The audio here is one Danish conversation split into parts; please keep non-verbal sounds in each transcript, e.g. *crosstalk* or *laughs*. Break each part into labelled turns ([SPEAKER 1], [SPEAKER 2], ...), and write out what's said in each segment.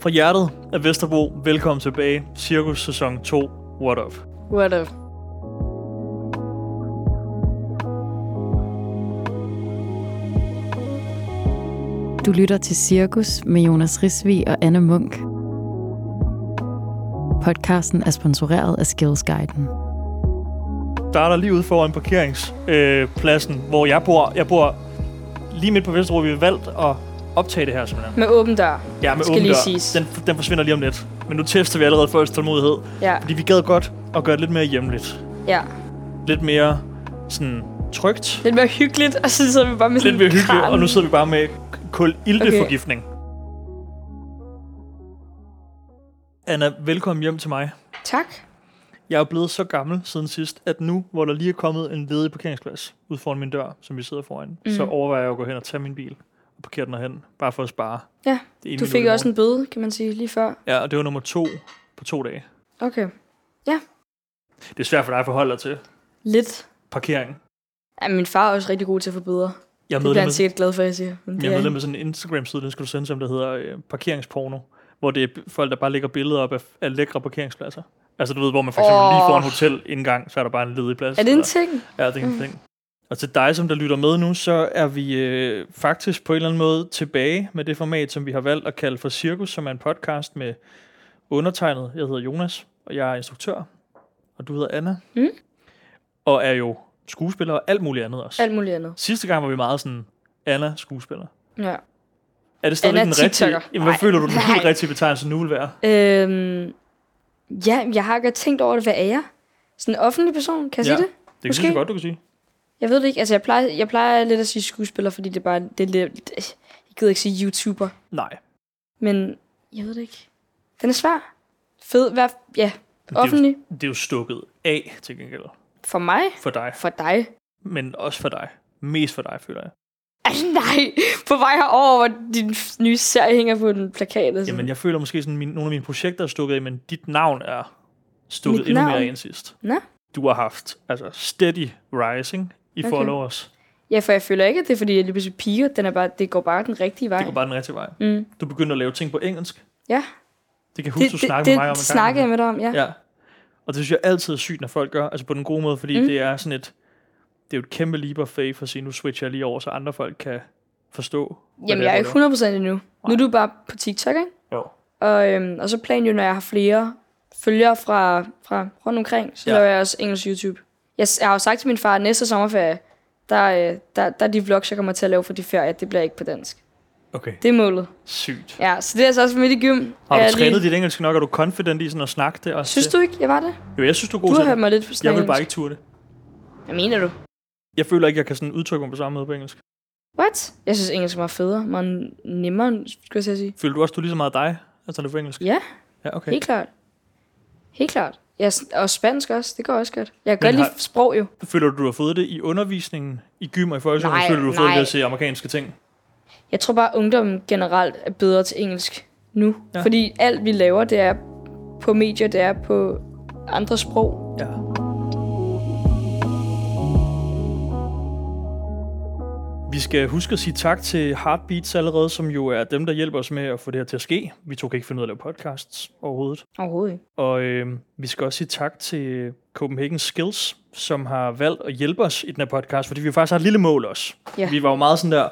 [SPEAKER 1] Fra hjertet af Vesterbro, velkommen tilbage. Cirkus sæson 2. What up?
[SPEAKER 2] What up?
[SPEAKER 3] Du lytter til Cirkus med Jonas Risvi og Anne Munk. Podcasten er sponsoreret af Skillsguiden.
[SPEAKER 1] Starter lige ude foran parkeringspladsen, øh, pladsen, hvor jeg bor. Jeg bor lige midt på Vesterbro. Vi har valgt at optage det her simpelthen.
[SPEAKER 2] Med åben dør.
[SPEAKER 1] Ja, med
[SPEAKER 2] Skal
[SPEAKER 1] åben
[SPEAKER 2] lige
[SPEAKER 1] dør.
[SPEAKER 2] siges.
[SPEAKER 1] Den, den forsvinder lige om lidt. Men nu tester vi allerede folks tålmodighed.
[SPEAKER 2] Ja,
[SPEAKER 1] Fordi vi gad godt at gøre det lidt mere hjemligt.
[SPEAKER 2] ja.
[SPEAKER 1] Lidt mere sådan trygt.
[SPEAKER 2] Lidt mere hyggeligt, og så sidder vi bare med sådan
[SPEAKER 1] Lidt mere hyggeligt.
[SPEAKER 2] kran.
[SPEAKER 1] Og nu sidder vi bare med kul-ilteforgiftning. Okay. Anna, velkommen hjem til mig.
[SPEAKER 2] Tak.
[SPEAKER 1] Jeg er blevet så gammel siden sidst, at nu, hvor der lige er kommet en ledig parkeringsplads ud foran min dør, som vi sidder foran, mm.
[SPEAKER 2] Mhm.
[SPEAKER 1] så overvejer jeg at gå hen og tage min bil og parkere den herhen, bare for at spare.
[SPEAKER 2] Ja,
[SPEAKER 1] Det ene
[SPEAKER 2] du
[SPEAKER 1] minut
[SPEAKER 2] fik
[SPEAKER 1] i
[SPEAKER 2] også
[SPEAKER 1] morgen.
[SPEAKER 2] en bøde, kan man sige, lige før.
[SPEAKER 1] Ja, og det var nummer to på to dage.
[SPEAKER 2] Okay.
[SPEAKER 1] Det er svært for dig at forholde dig til
[SPEAKER 2] Lidt.
[SPEAKER 1] parkering.
[SPEAKER 2] Ja, min far er også rigtig god til at få bøder.
[SPEAKER 1] Jeg er
[SPEAKER 2] Det bliver
[SPEAKER 1] medlem
[SPEAKER 2] han
[SPEAKER 1] af,
[SPEAKER 2] sikkert glad for, jeg siger. Men det
[SPEAKER 1] jeg er
[SPEAKER 2] er
[SPEAKER 1] medlem
[SPEAKER 2] han.
[SPEAKER 1] af sådan en Instagram-side, den skal du sende til, ham, der hedder øh, parkeringsporno, hvor det er b- folk, der bare lægger billeder op af, af lækre parkeringspladser. Altså du ved, hvor man for eksempel oh. lige
[SPEAKER 2] Åh.
[SPEAKER 1] får en hotelindgang, så er der bare en ledig plads.
[SPEAKER 2] Er det en
[SPEAKER 1] eller-
[SPEAKER 2] ting?
[SPEAKER 1] Ja, det er en
[SPEAKER 2] Mm.
[SPEAKER 1] ting. Og til dig, som der lytter med nu, så er vi øh, faktisk på en eller anden måde tilbage med det format, som vi har valgt at kalde for Cirkus, som er en podcast med undertegnet. Jeg hedder Jonas, og jeg er instruktør, og du hedder Anna.
[SPEAKER 2] Mm.
[SPEAKER 1] Og er jo skuespiller og alt muligt andet også. Al-
[SPEAKER 2] Alt muligt andet.
[SPEAKER 1] Sidste gang var vi meget sådan, Anna skuespiller.
[SPEAKER 2] Ja.
[SPEAKER 1] Er det stadig
[SPEAKER 2] Anna
[SPEAKER 1] den rigtige?
[SPEAKER 2] TikToker.
[SPEAKER 1] Jamen, hvad
[SPEAKER 2] Nej.
[SPEAKER 1] føler du, den helt
[SPEAKER 2] Nej.
[SPEAKER 1] rigtige betegnelse nu vil være?
[SPEAKER 2] Øhm, ja, jeg har godt tænkt over det. Hvad er jeg? Sådan en offentlig person, kan jeg
[SPEAKER 1] Ja.
[SPEAKER 2] sige det?
[SPEAKER 1] Det kan
[SPEAKER 2] Måske.
[SPEAKER 1] du så godt, du kan sige.
[SPEAKER 2] Jeg ved det ikke. Altså, jeg plejer, jeg plejer lidt at sige skuespiller, fordi det er bare... Det er lidt, jeg gider ikke sige YouTuber.
[SPEAKER 1] Nej,
[SPEAKER 2] Men jeg ved det ikke. Den er svær. Fed, hvad, ja,
[SPEAKER 1] det er, jo,
[SPEAKER 2] offentlig.
[SPEAKER 1] det er jo stukket af til gengæld
[SPEAKER 2] For mig?
[SPEAKER 1] for dig,
[SPEAKER 2] For dig?
[SPEAKER 1] men også for dig. Mest for dig, føler jeg.
[SPEAKER 2] Altså, nej. På vej herover, hvor din f- nye serie hænger på en plakat. Altså.
[SPEAKER 1] Jamen, jeg føler måske, sådan, min, nogle af mine projekter er stukket af, men dit navn er stukket
[SPEAKER 2] Mit
[SPEAKER 1] endnu
[SPEAKER 2] navn?
[SPEAKER 1] mere ind sidst.
[SPEAKER 2] Nå.
[SPEAKER 1] Du har haft altså, steady rising i okay.
[SPEAKER 2] Okay.
[SPEAKER 1] followers.
[SPEAKER 2] Ja, for jeg føler ikke, at det er, fordi jeg lige pludselig piger. Den er bare, det går bare den rigtige vej.
[SPEAKER 1] Det går bare den rigtige vej.
[SPEAKER 2] Mm.
[SPEAKER 1] Du begyndte at lave ting på engelsk.
[SPEAKER 2] Ja.
[SPEAKER 1] Det kan jeg huske,
[SPEAKER 2] Det,
[SPEAKER 1] du
[SPEAKER 2] det,
[SPEAKER 1] snakkede
[SPEAKER 2] det,
[SPEAKER 1] med mig om
[SPEAKER 2] det
[SPEAKER 1] en gang.
[SPEAKER 2] snakker jeg med dig om, ja. ja.
[SPEAKER 1] Ja. Og det synes jeg altid er sygt, når folk gør. Altså på den gode måde, fordi mm.
[SPEAKER 2] Mm.
[SPEAKER 1] det er sådan et... Det er jo et kæmpe leap of faith at sige, nu switcher jeg lige over, så andre folk kan forstå. hvad
[SPEAKER 2] Jamen,
[SPEAKER 1] det
[SPEAKER 2] jeg er
[SPEAKER 1] du
[SPEAKER 2] ikke
[SPEAKER 1] laver.
[SPEAKER 2] 100% endnu. Nu er du bare på TikTok, ikke?
[SPEAKER 1] Jo.
[SPEAKER 2] Og, øhm, og så planen jo, når jeg har flere følgere fra, fra rundt omkring, så
[SPEAKER 1] Ja.
[SPEAKER 2] ja. laver jeg også engelsk YouTube. Jeg, s- jeg har jo sagt til min far, at næste sommerferie, der, øh, der, der er de vlogs, jeg kommer til at lave for de ferier, det bliver ikke på dansk.
[SPEAKER 1] Okay.
[SPEAKER 2] Det er målet.
[SPEAKER 1] Sygt.
[SPEAKER 2] Ja, så det er altså også midt i gym.
[SPEAKER 1] Har
[SPEAKER 2] Jeg
[SPEAKER 1] du
[SPEAKER 2] er
[SPEAKER 1] trænet
[SPEAKER 2] lige...
[SPEAKER 1] dit engelsk nok? Er du confident i sådan at snakke det? Også
[SPEAKER 2] Synes du ikke, jeg var det?
[SPEAKER 1] Jo, jeg synes, du er god
[SPEAKER 2] Du
[SPEAKER 1] til
[SPEAKER 2] har
[SPEAKER 1] det.
[SPEAKER 2] hørt mig lidt på
[SPEAKER 1] Jeg vil bare ikke ture det.
[SPEAKER 2] Hvad mener du?
[SPEAKER 1] Jeg føler ikke, jeg kan sådan udtrykke mig på samme måde på engelsk.
[SPEAKER 2] What? Jeg synes, engelsk er meget federe, meget nemmere, skulle jeg til at sige.
[SPEAKER 1] Føler du også, du er lige så meget dig, altså det er på engelsk?
[SPEAKER 2] Ja,
[SPEAKER 1] Ja, okay.
[SPEAKER 2] helt klart. Helt klart. Ja, s- og spansk også, det går også godt. Jeg
[SPEAKER 1] Men
[SPEAKER 2] kan godt
[SPEAKER 1] har-
[SPEAKER 2] lide sprog jo.
[SPEAKER 1] Føler du, du har fået det i undervisningen, i gym og i folkeskolen?
[SPEAKER 2] Nej,
[SPEAKER 1] Føler du, du har fået det
[SPEAKER 2] nej.
[SPEAKER 1] ved at se amerikanske ting?
[SPEAKER 2] Jeg tror bare, at ungdommen generelt er bedre til engelsk nu.
[SPEAKER 1] Ja.
[SPEAKER 2] Ja. Fordi alt vi laver, det er på medier, det er på andre sprog.
[SPEAKER 1] Ja. Vi skal huske at sige tak til Heartbeats allerede, som jo er dem, der hjælper os med at få det her til at ske. Vi to kan ikke finde ud af at lave podcasts overhovedet.
[SPEAKER 2] Overhovedet ikke.
[SPEAKER 1] Og øh, vi skal også sige tak til Copenhagen Skills, som har valgt at hjælpe os i den her podcast, fordi vi faktisk har et lille mål også.
[SPEAKER 2] Ja.
[SPEAKER 1] Vi var jo meget sådan der,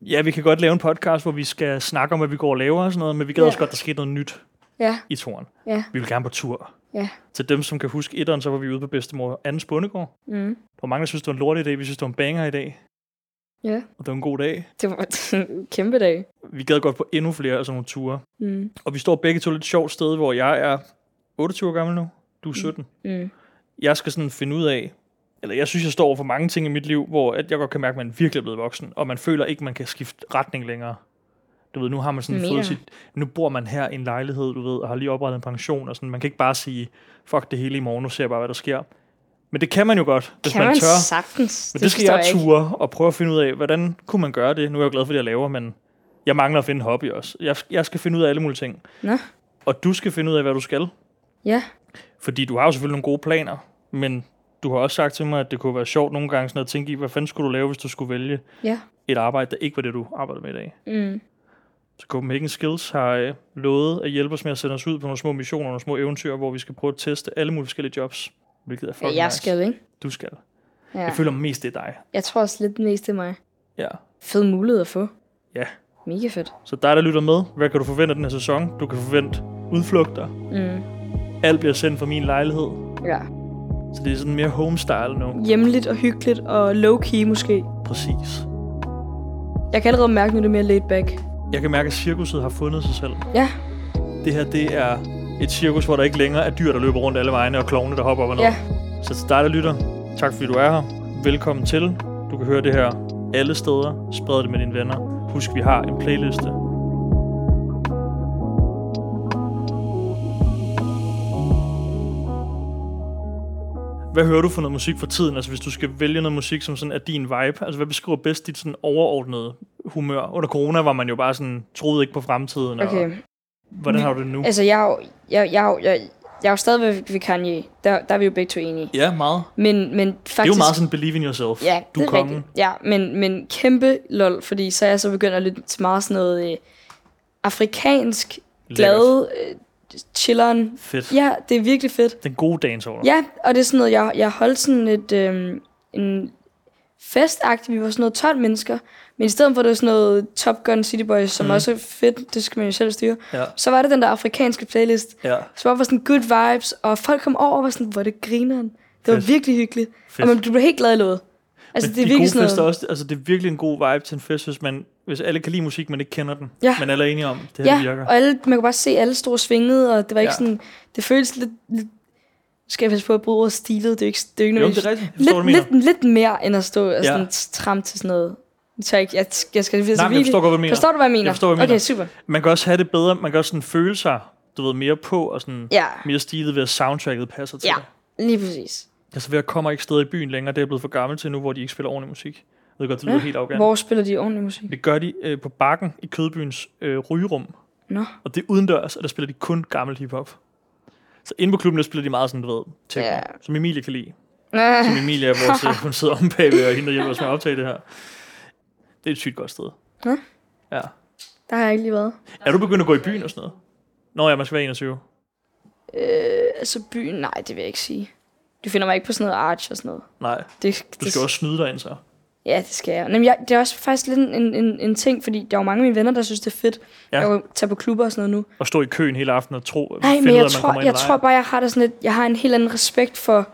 [SPEAKER 1] ja, vi kan godt lave en podcast, hvor vi skal snakke om, hvad vi går og laver og sådan noget, men vi gad
[SPEAKER 2] Ja.
[SPEAKER 1] også godt, der skete noget nyt
[SPEAKER 2] Ja,
[SPEAKER 1] i toren.
[SPEAKER 2] ja,
[SPEAKER 1] Vi vil gerne på tur.
[SPEAKER 2] ja.
[SPEAKER 1] Til dem, som kan huske etteren, så var vi ude på bedstemor Anders Bundegård.
[SPEAKER 2] Mm.
[SPEAKER 1] Der var mange, der synes, det var en lort i dag. Vi synes, det var en banger i dag.
[SPEAKER 2] Ja,
[SPEAKER 1] Og det var en god dag.
[SPEAKER 2] det var *laughs* en kæmpe dag.
[SPEAKER 1] Vi gad godt på endnu flere af sådan nogle ture.
[SPEAKER 2] Mm.
[SPEAKER 1] Og vi står begge to et lidt sjovt sted, hvor jeg er 28 år gammel nu. Du er 17.
[SPEAKER 2] Mm.
[SPEAKER 1] jeg skal sådan finde ud af, eller jeg synes, jeg står over for mange ting i mit liv, hvor at jeg godt kan mærke, at man virkelig er blevet voksen, og man føler ikke, man kan skifte retning længere. Du ved, nu har man sådan
[SPEAKER 2] Mener
[SPEAKER 1] fået
[SPEAKER 2] du?
[SPEAKER 1] sit, nu bor man her i en lejlighed, du ved, og har lige oprettet en pension, og sådan, man kan ikke bare sige, fuck det hele i morgen, nu ser jeg bare, hvad der sker. Men det kan man jo godt, hvis
[SPEAKER 2] Kan
[SPEAKER 1] man,
[SPEAKER 2] man
[SPEAKER 1] tør.
[SPEAKER 2] sagtens?
[SPEAKER 1] Men det, det skal
[SPEAKER 2] forstår
[SPEAKER 1] jeg
[SPEAKER 2] ikke.
[SPEAKER 1] ture og prøve at finde ud af, hvordan kunne man gøre det? Nu er jeg jo glad for det, jeg laver, men jeg mangler at finde en hobby også. Jeg, jeg skal finde ud af alle mulige ting.
[SPEAKER 2] Nå.
[SPEAKER 1] Og du skal finde ud af, hvad du skal.
[SPEAKER 2] Ja,
[SPEAKER 1] Fordi du har jo selvfølgelig nogle gode planer, men du har også sagt til mig, at det kunne være sjovt nogle gange sådan at tænke i, hvad fanden skulle du lave, hvis du skulle vælge
[SPEAKER 2] ja.
[SPEAKER 1] et arbejde, der ikke var det, du arbejder med i dag.
[SPEAKER 2] Mm.
[SPEAKER 1] Så Copenhagen Skills har øh, lovet at hjælpe os med at sende os ud på nogle små missioner, nogle små eventyr, hvor vi skal prøve at teste alle mulige forskellige jobs. Hvilket er
[SPEAKER 2] Ja,
[SPEAKER 1] fucking
[SPEAKER 2] jeg
[SPEAKER 1] nice.
[SPEAKER 2] skal, ikke?
[SPEAKER 1] Du skal. Ja.
[SPEAKER 2] Ja.
[SPEAKER 1] Jeg føler mest, det er dig.
[SPEAKER 2] Jeg tror også lidt den næste er mig.
[SPEAKER 1] Ja.
[SPEAKER 2] Fed mulighed at få.
[SPEAKER 1] Ja.
[SPEAKER 2] Mega fedt.
[SPEAKER 1] Så dig, der lytter med, hvad kan du forvente af den her sæson? Du kan forvente udflugter.
[SPEAKER 2] Mm.
[SPEAKER 1] Alt bliver sendt fra min lejlighed.
[SPEAKER 2] Ja.
[SPEAKER 1] Så det er sådan mere homestyle nu.
[SPEAKER 2] Hjemligt og hyggeligt og low-key måske.
[SPEAKER 1] Præcis.
[SPEAKER 2] Jeg kan allerede mærke, nu det er mere laid back.
[SPEAKER 1] Jeg kan mærke, at cirkuset har fundet sig selv.
[SPEAKER 2] Ja.
[SPEAKER 1] Det her, det er et cirkus, hvor der ikke længere er dyr, der løber rundt alle vejene, og klovne, der hopper op og ned.
[SPEAKER 2] Ja.
[SPEAKER 1] Så til dig, der lytter, tak fordi du er her. Velkommen til. Du kan høre det her alle steder. Spred det med dine venner. Husk, vi har en playliste. Hvad hører du for noget musik for tiden? Altså hvis du skal vælge noget musik, som sådan er din vibe, altså hvad beskriver bedst dit sådan overordnede humør? Under corona var man jo bare sådan, troede ikke på fremtiden,
[SPEAKER 2] Okay.
[SPEAKER 1] og hvordan har du det nu?
[SPEAKER 2] Altså, jeg er jo, jeg, jeg, er jo- jeg, jeg er jo stadigvæk ved Kanye. Der, der er vi jo begge to enige.
[SPEAKER 1] Ja, meget.
[SPEAKER 2] Men, men faktisk...
[SPEAKER 1] Det er jo meget sådan believe in yourself.
[SPEAKER 2] Ja,
[SPEAKER 1] du er
[SPEAKER 2] det er
[SPEAKER 1] kongen.
[SPEAKER 2] rigtigt. Ja, men, men kæmpe lol, fordi så er jeg så begyndt at lytte til meget sådan noget øh, afrikansk, glad, øh, chilleren.
[SPEAKER 1] Fedt.
[SPEAKER 2] Ja, det er virkelig fedt.
[SPEAKER 1] Den gode dans over.
[SPEAKER 2] Ja, og det er sådan noget, jeg, jeg holdt sådan et, øh, en festagtig, vi var sådan noget 12 mennesker, men i stedet for at det var sådan noget Top Gun City Boys, som
[SPEAKER 1] Mm.
[SPEAKER 2] mm. også er fedt, det skal man jo selv styre,
[SPEAKER 1] Ja.
[SPEAKER 2] så var det den der afrikanske playlist,
[SPEAKER 1] ja.
[SPEAKER 2] som bare var sådan good vibes, og folk kom over og var sådan, hvor det grineren. Det var
[SPEAKER 1] Fedt.
[SPEAKER 2] virkelig hyggeligt.
[SPEAKER 1] Fedt.
[SPEAKER 2] Og man, du blev helt glad i låget. Altså,
[SPEAKER 1] Men
[SPEAKER 2] det er
[SPEAKER 1] de
[SPEAKER 2] virkelig
[SPEAKER 1] gode
[SPEAKER 2] sådan
[SPEAKER 1] fester
[SPEAKER 2] noget.
[SPEAKER 1] også, altså det er virkelig en god vibe til en fest, hvis, man, hvis alle kan lide musik, men ikke kender den.
[SPEAKER 2] Ja.
[SPEAKER 1] Men alle er enige om, det her
[SPEAKER 2] Ja,
[SPEAKER 1] det virker.
[SPEAKER 2] og alle, man kunne bare se, at alle stod og svingede, og det var ikke
[SPEAKER 1] Ja.
[SPEAKER 2] ja. sådan... Det føltes lidt... lidt nu skal jeg passe på at bruge ordet stilet? Det er jo ikke, det er jo ikke
[SPEAKER 1] Jo,
[SPEAKER 2] noget,
[SPEAKER 1] det er rigtigt. Jeg forstår,
[SPEAKER 2] lidt,
[SPEAKER 1] hvad du mener.
[SPEAKER 2] lidt, lidt mere, end at stå og
[SPEAKER 1] Ja.
[SPEAKER 2] sådan tram til sådan noget. Jeg, tør ikke, jeg, jeg skal altså
[SPEAKER 1] Nej, men jeg forstår godt, hvad du mener.
[SPEAKER 2] forstår du, hvad jeg mener?
[SPEAKER 1] Jeg forstår, hvad du mener.
[SPEAKER 2] Okay, super.
[SPEAKER 1] Man kan også have det bedre, man kan også sådan føle sig, du ved, mere på og sådan
[SPEAKER 2] Ja,
[SPEAKER 1] mere stilet ved, at soundtracket passer til
[SPEAKER 2] ja
[SPEAKER 1] dig.
[SPEAKER 2] lige præcis.
[SPEAKER 1] Altså ved at komme ikke steder i byen længere, det er jeg blevet for gammel til nu, hvor de ikke spiller ordentlig musik. Jeg ved godt, det lyder
[SPEAKER 2] Ja.
[SPEAKER 1] helt arrogant.
[SPEAKER 2] Hvor spiller de ordentlig musik?
[SPEAKER 1] Det gør de øh, på bakken i Kødbyens øh, rygerum.
[SPEAKER 2] Nå. *laughs*
[SPEAKER 1] Og det er udendørs, og der spiller de kun gammel hiphop. Så inde på klubben, der spiller de meget sådan, du ved, techno,
[SPEAKER 2] Ja.
[SPEAKER 1] som Emilie kan lide.
[SPEAKER 2] Ah,
[SPEAKER 1] Som Emilie er vores,
[SPEAKER 2] *laughs*
[SPEAKER 1] øh, hun sidder om bagved, og hende, der hjælper os med at optage det her. Det er et sygt godt sted.
[SPEAKER 2] Nå.
[SPEAKER 1] Ja.
[SPEAKER 2] der har jeg ikke lige været.
[SPEAKER 1] Er du begyndt at gå i byen og sådan noget? Nå ja, man skal være 21.
[SPEAKER 2] Øh, altså byen, nej, det vil jeg ikke sige. Du finder mig ikke på sådan noget arch og sådan noget.
[SPEAKER 1] Nej,
[SPEAKER 2] Det,
[SPEAKER 1] du
[SPEAKER 2] det,
[SPEAKER 1] skal også snyde dig ind så.
[SPEAKER 2] Ja, det skal jeg. Jamen, jeg. Det er også faktisk lidt en, en, en ting, fordi der er jo mange af mine venner, der synes, det er fedt
[SPEAKER 1] Ja.
[SPEAKER 2] ja. at tage på klubber og sådan noget nu.
[SPEAKER 1] Og stå i køen hele aftenen og tro,
[SPEAKER 2] Nej,
[SPEAKER 1] finde
[SPEAKER 2] men
[SPEAKER 1] ud af, at
[SPEAKER 2] jeg
[SPEAKER 1] man
[SPEAKER 2] tror,
[SPEAKER 1] kommer ind
[SPEAKER 2] jeg
[SPEAKER 1] eller
[SPEAKER 2] tror
[SPEAKER 1] ej.
[SPEAKER 2] bare, jeg har, der sådan lidt, jeg har en helt anden respekt for,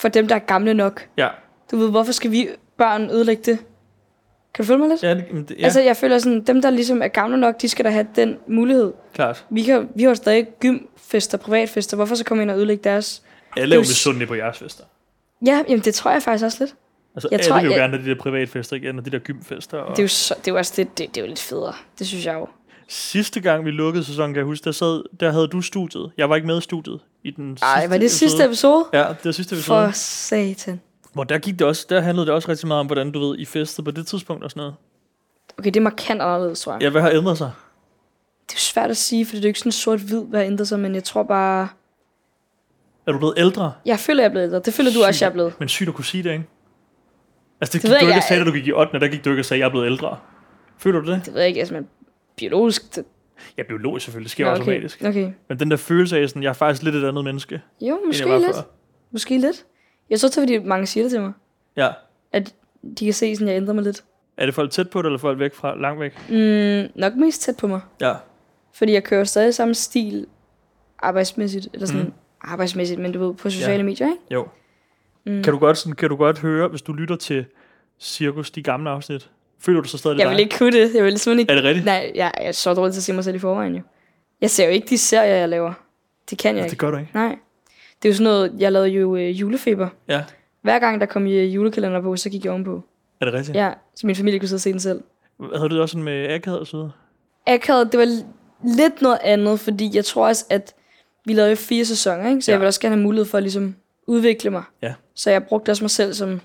[SPEAKER 2] for dem, der er gamle nok.
[SPEAKER 1] Ja,
[SPEAKER 2] Du ved, hvorfor skal vi børn ødelægge det? Kan du følge mig lidt?
[SPEAKER 1] ja, det, men det- ja
[SPEAKER 2] Altså,
[SPEAKER 1] altså,
[SPEAKER 2] jeg føler sådan, dem, der ligesom er gamle nok, de skal da have den mulighed.
[SPEAKER 1] klart.
[SPEAKER 2] Vi, kan, vi har jo stadig gymfester, privatfester. Hvorfor så komme ind og ødelægge deres?
[SPEAKER 1] Alle er jo
[SPEAKER 2] det er jo s-
[SPEAKER 1] misundelige på jeres fester.
[SPEAKER 2] Ja, jamen, det tror jeg faktisk også lidt.
[SPEAKER 1] Altså,
[SPEAKER 2] Jeg
[SPEAKER 1] alle
[SPEAKER 2] tror,
[SPEAKER 1] vil jo
[SPEAKER 2] jeg-
[SPEAKER 1] gerne have de der privatfester igen, og de der gymfester. Og...
[SPEAKER 2] Det er jo, så, det er jo også det, det, det er jo lidt federe. Det synes jeg jo.
[SPEAKER 1] Sidste gang, vi lukkede sæsonen, kan jeg huske, der, sad, der havde du studiet. Jeg var ikke med i studiet i den sidste
[SPEAKER 2] Ej, var det sidste
[SPEAKER 1] episode.
[SPEAKER 2] episode?
[SPEAKER 1] Ja, det var sidste episode.
[SPEAKER 2] For
[SPEAKER 1] For...
[SPEAKER 2] satan.
[SPEAKER 1] Hvor der, gik det også, der handlede det også rigtig meget om, hvordan du ved, I festede på det tidspunkt og sådan noget.
[SPEAKER 2] Okay, det er markant anderledes, tror jeg. Ja.
[SPEAKER 1] Ja, hvad har ændret sig?
[SPEAKER 2] Det er jo svært at sige, for det er jo ikke sådan sort-hvid, hvad ændrer sig, men jeg tror bare...
[SPEAKER 1] Er du blevet ældre?
[SPEAKER 2] Jeg føler, jeg er blevet ældre. Det føler du
[SPEAKER 1] Sygt.
[SPEAKER 2] også, jeg er blevet.
[SPEAKER 1] Men sygt at kunne sige det, ikke? Altså, det,
[SPEAKER 2] ved
[SPEAKER 1] gik
[SPEAKER 2] jeg
[SPEAKER 1] du ikke og
[SPEAKER 2] ikke.
[SPEAKER 1] sagde, da du gik i 8. Der gik du ikke og sagde, jeg er blevet ældre. Føler du det?
[SPEAKER 2] Det ved jeg ikke, altså, men biologisk... Det...
[SPEAKER 1] Ja, biologisk selvfølgelig. Det sker
[SPEAKER 2] Nå,
[SPEAKER 1] okay.
[SPEAKER 2] okay.
[SPEAKER 1] automatisk.
[SPEAKER 2] okay.
[SPEAKER 1] Men den der følelse af, sådan, jeg er faktisk lidt et andet menneske. end jeg
[SPEAKER 2] Jo, måske
[SPEAKER 1] var
[SPEAKER 2] lidt.
[SPEAKER 1] før.
[SPEAKER 2] Måske lidt. Jeg tror, det er, fordi mange siger det til mig.
[SPEAKER 1] Ja.
[SPEAKER 2] At de kan se, sådan, jeg ændrer mig lidt.
[SPEAKER 1] Er det folk tæt på dig, eller folk væk fra, langt væk?
[SPEAKER 2] Mm, nok mest tæt på mig.
[SPEAKER 1] Ja.
[SPEAKER 2] Fordi jeg kører stadig samme stil arbejdsmæssigt, eller sådan
[SPEAKER 1] Mm.
[SPEAKER 2] mm. arbejdsmæssigt, men du ved, på sociale
[SPEAKER 1] Ja.
[SPEAKER 2] ja. medier, ikke?
[SPEAKER 1] Jo.
[SPEAKER 2] Mm.
[SPEAKER 1] Kan du, godt, sådan, kan du godt høre, hvis du lytter til Cirkus, de gamle afsnit? Føler du så stadig det er
[SPEAKER 2] Jeg vil
[SPEAKER 1] dig?
[SPEAKER 2] ikke kunne det. Jeg vil simpelthen ikke
[SPEAKER 1] Er det rigtigt?
[SPEAKER 2] Nej, jeg jeg er så dårlig til at se mig selv i forvejen jo. Jeg ser jo ikke de serier, jeg laver. Det kan jeg
[SPEAKER 1] Nej,
[SPEAKER 2] ikke.
[SPEAKER 1] Altså, det gør du ikke.
[SPEAKER 2] Nej. Det er jo sådan noget, jeg lavede jo øh, julefeber.
[SPEAKER 1] Ja.
[SPEAKER 2] Hver gang der kom øh, julekalender på, så gik jeg ovenpå.
[SPEAKER 1] Er det rigtigt?
[SPEAKER 2] Ja. ja, så min familie kunne sidde og se den selv.
[SPEAKER 1] Havde du det også sådan med akavet og så videre?
[SPEAKER 2] Akavet, det var l- lidt noget andet, fordi jeg tror også, at vi lavede jo fire sæsoner, ikke? så ja.
[SPEAKER 1] Ja.
[SPEAKER 2] jeg ville også gerne have mulighed for at ligesom udvikle mig.
[SPEAKER 1] Ja.
[SPEAKER 2] Så jeg brugte også mig selv som,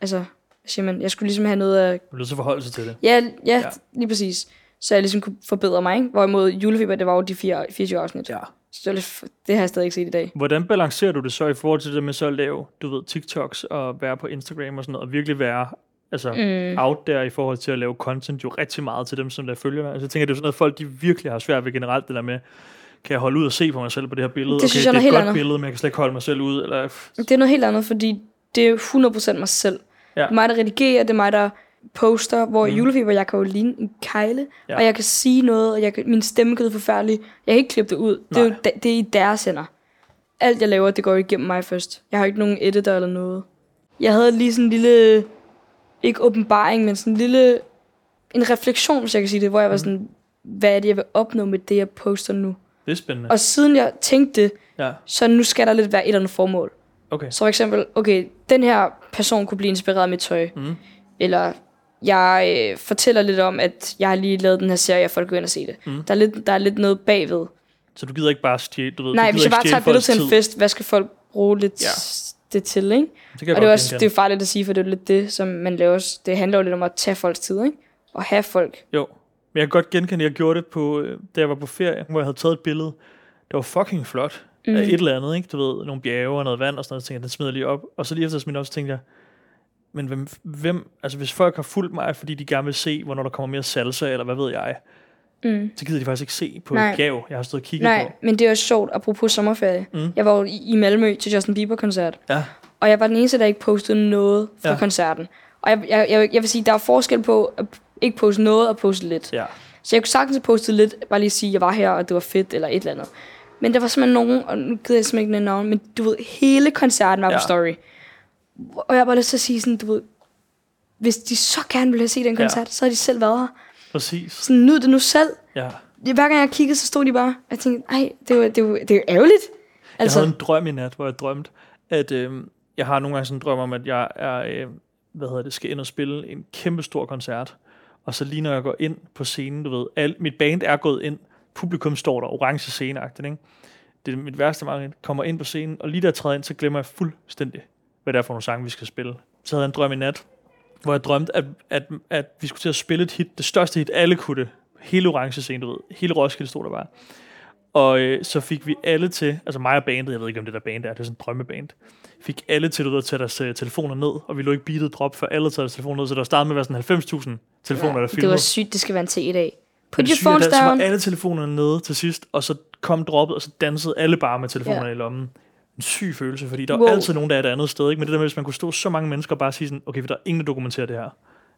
[SPEAKER 2] altså, hvad siger man, jeg skulle ligesom have noget at
[SPEAKER 1] Du er nødt til at forholde sig til det.
[SPEAKER 2] Ja, ja,
[SPEAKER 1] Ja.
[SPEAKER 2] ja. lige præcis. Så jeg ligesom kunne forbedre mig, ikke? Hvorimod julefeber, det var jo de fire, 24 afsnit.
[SPEAKER 1] Ja.
[SPEAKER 2] Så det, er lidt f- det har jeg stadig ikke set i dag.
[SPEAKER 1] Hvordan balancerer du det så i forhold til det med så at lave, du ved, TikToks og være på Instagram og sådan noget, og virkelig være altså mm.
[SPEAKER 2] Mm.
[SPEAKER 1] out der i forhold til at lave content jo rigtig meget til dem, som der følger mig. Altså, jeg tænker, det er jo sådan noget, folk de virkelig har svært ved generelt, det der med, kan jeg holde ud og se på mig selv på det her billede?
[SPEAKER 2] Det synes
[SPEAKER 1] okay,
[SPEAKER 2] jeg er
[SPEAKER 1] det er et
[SPEAKER 2] noget
[SPEAKER 1] godt
[SPEAKER 2] helt andet.
[SPEAKER 1] billede, men jeg kan slet ikke holde mig selv ud. Eller, pff,
[SPEAKER 2] Det er noget helt andet, fordi det er 100% mig selv.
[SPEAKER 1] Ja.
[SPEAKER 2] Ja. Det er mig, der redigerer, det er mig, der poster, hvor mm.
[SPEAKER 1] Mm.
[SPEAKER 2] julefeber, jeg kan jo ligne en kejle,
[SPEAKER 1] Ja.
[SPEAKER 2] ja. og jeg kan sige noget, og jeg kan, min stemme kan lyde forfærdelig. Jeg kan ikke klippe det ud. Det er, jo,
[SPEAKER 1] Nej.
[SPEAKER 2] da- det er i deres hænder. Alt, jeg laver, det går igennem mig først. Jeg har ikke nogen editor eller noget. Jeg havde lige sådan en lille, ikke åbenbaring, men sådan en lille, en refleksion, hvis jeg kan sige det, hvor jeg var sådan, hvad er det, jeg vil opnå med det, jeg poster nu?
[SPEAKER 1] det er spændende.
[SPEAKER 2] Og siden jeg tænkte det,
[SPEAKER 1] Ja,
[SPEAKER 2] så nu skal der lidt være et eller andet formål.
[SPEAKER 1] okay.
[SPEAKER 2] Så for eksempel, okay, den her person kunne blive inspireret af mit tøj.
[SPEAKER 1] Mm.
[SPEAKER 2] Eller jeg øh, fortæller lidt om, at jeg har lige lavet den her serie, og folk går ind og se det.
[SPEAKER 1] Mm.
[SPEAKER 2] Der, er lidt, der er lidt noget bagved.
[SPEAKER 1] Så du gider ikke bare stjæle, du ved,
[SPEAKER 2] Nej,
[SPEAKER 1] du gider
[SPEAKER 2] hvis jeg
[SPEAKER 1] ikke
[SPEAKER 2] bare tager
[SPEAKER 1] stjæle
[SPEAKER 2] et billede
[SPEAKER 1] folks
[SPEAKER 2] til en
[SPEAKER 1] tid.
[SPEAKER 2] fest, hvad skal folk bruge lidt
[SPEAKER 1] Ja.
[SPEAKER 2] ja. det til, ikke?
[SPEAKER 1] Det kan jeg
[SPEAKER 2] Og det er,
[SPEAKER 1] godt
[SPEAKER 2] også, det er
[SPEAKER 1] genkende.
[SPEAKER 2] jo farligt at sige, for det er jo lidt det, som man laver. også. Det handler jo lidt om at tage folks tid, ikke? Og have folk.
[SPEAKER 1] Jo, men jeg kan godt genkende, at jeg gjorde det, på, øh, da jeg var på ferie, hvor jeg havde taget et billede. Det var fucking flot. Mm. Af et eller andet, ikke? Du ved, nogle bjerge og noget vand og sådan noget. Så tænkte jeg, den smider jeg lige op. Og så lige efter, smidt op, så tænkte jeg, men hvem, hvem, altså hvis folk har fulgt mig, fordi de gerne vil se, hvornår der kommer mere salsa, eller hvad ved jeg,
[SPEAKER 2] Mm.
[SPEAKER 1] så gider de faktisk ikke se på Nej.
[SPEAKER 2] Nej.
[SPEAKER 1] et gav, jeg har stået og kigget
[SPEAKER 2] Nej,
[SPEAKER 1] på.
[SPEAKER 2] men det er også sjovt, apropos sommerferie.
[SPEAKER 1] Mm.
[SPEAKER 2] Jeg var jo i i Malmø til Justin Bieber-koncert.
[SPEAKER 1] Ja,
[SPEAKER 2] Og jeg var den eneste, der ikke postede noget fra
[SPEAKER 1] Ja.
[SPEAKER 2] ja. koncerten. Og jeg, jeg, jeg, jeg vil sige, der er forskel på at ikke poste noget og poste lidt. Ja.
[SPEAKER 1] ja.
[SPEAKER 2] Så jeg kunne sagtens have postet lidt, bare lige sige, at jeg var her, og det var fedt, eller et eller andet. Men der var simpelthen nogen, og nu gider jeg simpelthen ikke nævne navn, men du ved, hele koncerten var ja.
[SPEAKER 1] Ja.
[SPEAKER 2] på story. Og jeg har bare lyst til at sige sådan, du ved, hvis de så gerne ville have set den
[SPEAKER 1] Ja.
[SPEAKER 2] koncert, så har de selv været her.
[SPEAKER 1] præcis.
[SPEAKER 2] Sådan, nyd det nu selv.
[SPEAKER 1] Ja.
[SPEAKER 2] Hver gang jeg kiggede, så stod de bare, og jeg tænkte, ej, det er jo det er ærgerligt.
[SPEAKER 1] Altså.
[SPEAKER 2] Altså,
[SPEAKER 1] Jeg havde en drøm i nat, hvor jeg drømte, at øh, jeg har nogle gange sådan en drøm om, at jeg er, øh, hvad hedder det, skal ind og spille en kæmpe stor koncert. Og så lige når jeg går ind på scenen, du ved, al, mit band er gået ind, publikum står der, orange sceneagtigt, ikke? Det er mit værste mange, kommer ind på scenen, og lige da jeg træder ind, så glemmer jeg fuldstændig, hvad det er for nogle sange, vi skal spille. Så havde jeg en drøm i nat, hvor jeg drømte, at, at, at vi skulle til at spille et hit, det største hit, alle kunne det. Hele orange scene, du ved. Hele Roskilde stod der bare. Og øh, så fik vi alle til, altså mig og bandet, jeg ved ikke om det der band er, det er sådan en drømmeband, fik alle til du ved, at tage deres øh, telefoner ned, og vi lå ikke beatet drop, for alle tager deres telefoner ned, så der startede med at være sådan 90.000 telefoner, ja, der
[SPEAKER 2] det
[SPEAKER 1] filmede.
[SPEAKER 2] var sygt, det skal være en til i dag.
[SPEAKER 1] Men
[SPEAKER 2] Put
[SPEAKER 1] det
[SPEAKER 2] your
[SPEAKER 1] syge er,
[SPEAKER 2] phones
[SPEAKER 1] der- så var
[SPEAKER 2] down.
[SPEAKER 1] alle telefonerne nede til sidst, og så kom droppet, og så dansede alle bare med telefonerne
[SPEAKER 2] Ja.
[SPEAKER 1] i lommen. En syg følelse, fordi der er
[SPEAKER 2] Wow.
[SPEAKER 1] altid nogen, der er et andet sted. Ikke? Men det der med, hvis man kunne stå så mange mennesker og bare sige sådan, okay, for der er ingen, der dokumenterer det her.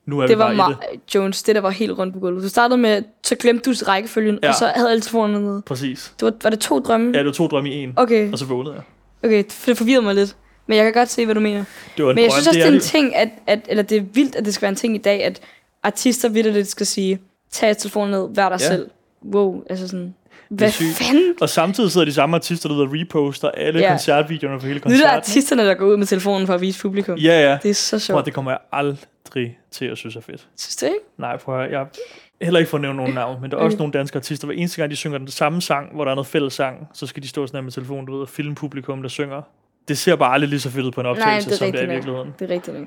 [SPEAKER 1] Nu er
[SPEAKER 2] det
[SPEAKER 1] vi
[SPEAKER 2] var
[SPEAKER 1] bare i det.
[SPEAKER 2] meget, Jones, det der var helt rundt på gulvet. Du startede med, så glemte du rækkefølgen,
[SPEAKER 1] Ja.
[SPEAKER 2] ja. og så havde alle telefonerne nede.
[SPEAKER 1] Præcis.
[SPEAKER 2] Det var, var det to drømme?
[SPEAKER 1] Ja, det var to drømme i en,
[SPEAKER 2] Okay,
[SPEAKER 1] og så vågnede jeg.
[SPEAKER 2] okay, det- det forvirrede mig lidt. Men jeg kan godt se, hvad du mener.
[SPEAKER 1] Det var en
[SPEAKER 2] Men jeg
[SPEAKER 1] drøm,
[SPEAKER 2] synes også,
[SPEAKER 1] det
[SPEAKER 2] det
[SPEAKER 1] er
[SPEAKER 2] er en
[SPEAKER 1] det.
[SPEAKER 2] ting, at, at, eller det er vildt, at det skal være en ting i dag, at artister vidt lidt skal sige, tag jeres telefon ned, vær dig
[SPEAKER 1] Ja.
[SPEAKER 2] ja. selv. Wow, altså sådan, hvad
[SPEAKER 1] sygt.
[SPEAKER 2] fanden?
[SPEAKER 1] Og samtidig sidder de samme artister, der ved at reposter alle
[SPEAKER 2] Ja.
[SPEAKER 1] koncertvideoerne for hele
[SPEAKER 2] Nu er det
[SPEAKER 1] koncerten.
[SPEAKER 2] artisterne, der går ud med telefonen for at vise publikum.
[SPEAKER 1] ikke? Ja, ja.
[SPEAKER 2] Det er så
[SPEAKER 1] Prøv, at,
[SPEAKER 2] sjovt.
[SPEAKER 1] det kommer jeg aldrig til at synes er fedt.
[SPEAKER 2] Synes du ikke?
[SPEAKER 1] Nej, prøv at høre. Jeg heller ikke for at nævne nogen navn, men der er også
[SPEAKER 2] Okay.
[SPEAKER 1] nogle danske artister, hver eneste gang de synger den samme sang, hvor der er noget fælles sang, så skal de stå sådan her med telefonen, du ved, og filme publikum, der synger. Det ser bare aldrig lige så fedt ud på en
[SPEAKER 2] Nej,
[SPEAKER 1] optagelse,
[SPEAKER 2] det er
[SPEAKER 1] som det er i
[SPEAKER 2] rigtigt nok.
[SPEAKER 1] virkeligheden.
[SPEAKER 2] Det er rigtigt nok.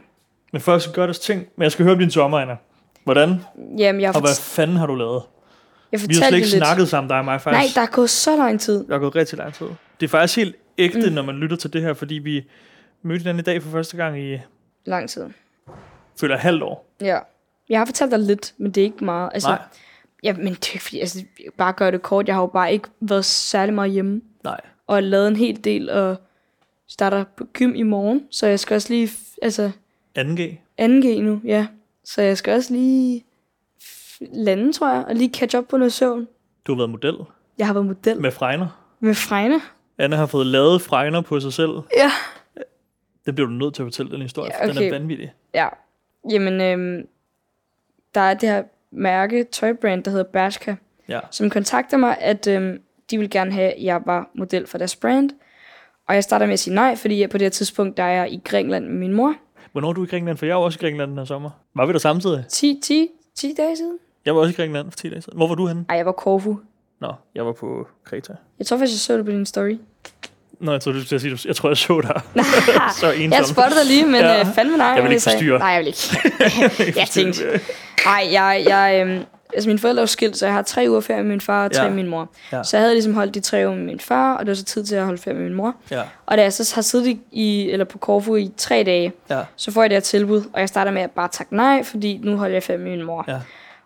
[SPEAKER 1] Men folk skal gøre deres ting. Men jeg skal høre om din sommer, Anna. Hvordan?
[SPEAKER 2] Jamen, jeg har,
[SPEAKER 1] Og hvad
[SPEAKER 2] fort-
[SPEAKER 1] fanden har du lavet?
[SPEAKER 2] jeg
[SPEAKER 1] Vi har
[SPEAKER 2] fortalte
[SPEAKER 1] slet ikke
[SPEAKER 2] det lidt.
[SPEAKER 1] snakket sammen, dig og mig,
[SPEAKER 2] Nej,
[SPEAKER 1] faktisk.
[SPEAKER 2] der er gået så lang tid.
[SPEAKER 1] Der er gået rigtig lang tid. Det er faktisk helt ægte, mm. når man lytter til det her, fordi vi mødte hinanden i dag for første gang i,
[SPEAKER 2] Lang tid.
[SPEAKER 1] føler, et halvt år.
[SPEAKER 2] Ja. Jeg har fortalt dig lidt, men det er ikke meget. Altså,
[SPEAKER 1] Nej.
[SPEAKER 2] Ja, men det er ikke fordi, altså, bare gør det kort. Jeg har jo bare ikke været særlig meget hjemme,
[SPEAKER 1] Nej.
[SPEAKER 2] og lavet en hel del, og starter på gym i morgen, så jeg skal også lige, f- altså,
[SPEAKER 1] 2G.
[SPEAKER 2] 2G nu, ja. Så jeg skal også lige f- lande, tror jeg, og lige catch up på noget søvn.
[SPEAKER 1] Du har været model
[SPEAKER 2] Jeg har været model med,
[SPEAKER 1] med fregner.
[SPEAKER 2] med Frejne.
[SPEAKER 1] Anna har fået lavet fregner på sig selv.
[SPEAKER 2] Ja.
[SPEAKER 1] Det bliver du nødt til at fortælle, den historie.
[SPEAKER 2] Ja,
[SPEAKER 1] Ja, okay. Den er
[SPEAKER 2] okay.
[SPEAKER 1] vanvittig.
[SPEAKER 2] Ja. Jamen, øhm, der er det her mærke, tøjbrand, der hedder Bershka,
[SPEAKER 1] Ja.
[SPEAKER 2] som kontakter mig, at øhm, de vil gerne have, at jeg var model for deres brand. Og jeg starter med at sige nej, fordi jeg på det her tidspunkt, der er jeg i Grækenland med min mor.
[SPEAKER 1] Hvornår er du i Grækenland? For jeg var også i Grækenland den her sommer. Var vi der samtidig?
[SPEAKER 2] 10, 10, 10 dage siden?
[SPEAKER 1] Jeg var også i Grækenland for 10 dage siden. Hvor var du henne?
[SPEAKER 2] Ej, jeg var Korfu.
[SPEAKER 1] Nå, jeg var på Kreta.
[SPEAKER 2] Jeg tror faktisk, jeg så det på din story.
[SPEAKER 1] Nå, jeg tror, du skulle til at sige, jeg tror, jeg så dig.
[SPEAKER 2] *laughs*
[SPEAKER 1] *laughs* så ensom.
[SPEAKER 2] Jeg spottede dig lige, men
[SPEAKER 1] Ja. *laughs*
[SPEAKER 2] ja. øh, fandme nej.
[SPEAKER 1] Jeg vil ikke
[SPEAKER 2] sagde-
[SPEAKER 1] forstyrre.
[SPEAKER 2] Nej, jeg vil ikke. jeg tænkte, nej, jeg, jeg, øhm, Altså mine forældre er jo skilt, så jeg har tre uger ferie med min far og tre
[SPEAKER 1] Ja.
[SPEAKER 2] ja. med min mor.
[SPEAKER 1] Ja.
[SPEAKER 2] Ja. Så jeg havde ligesom holdt de tre uger med min far, og det var så tid til at holde ferie med min mor.
[SPEAKER 1] Ja.
[SPEAKER 2] Og da jeg så har siddet i- i, eller på Corfu i tre dage,
[SPEAKER 1] Ja.
[SPEAKER 2] så får jeg det her tilbud, og jeg starter med at bare takke nej, fordi nu holder jeg ferie med min mor.
[SPEAKER 1] Ja.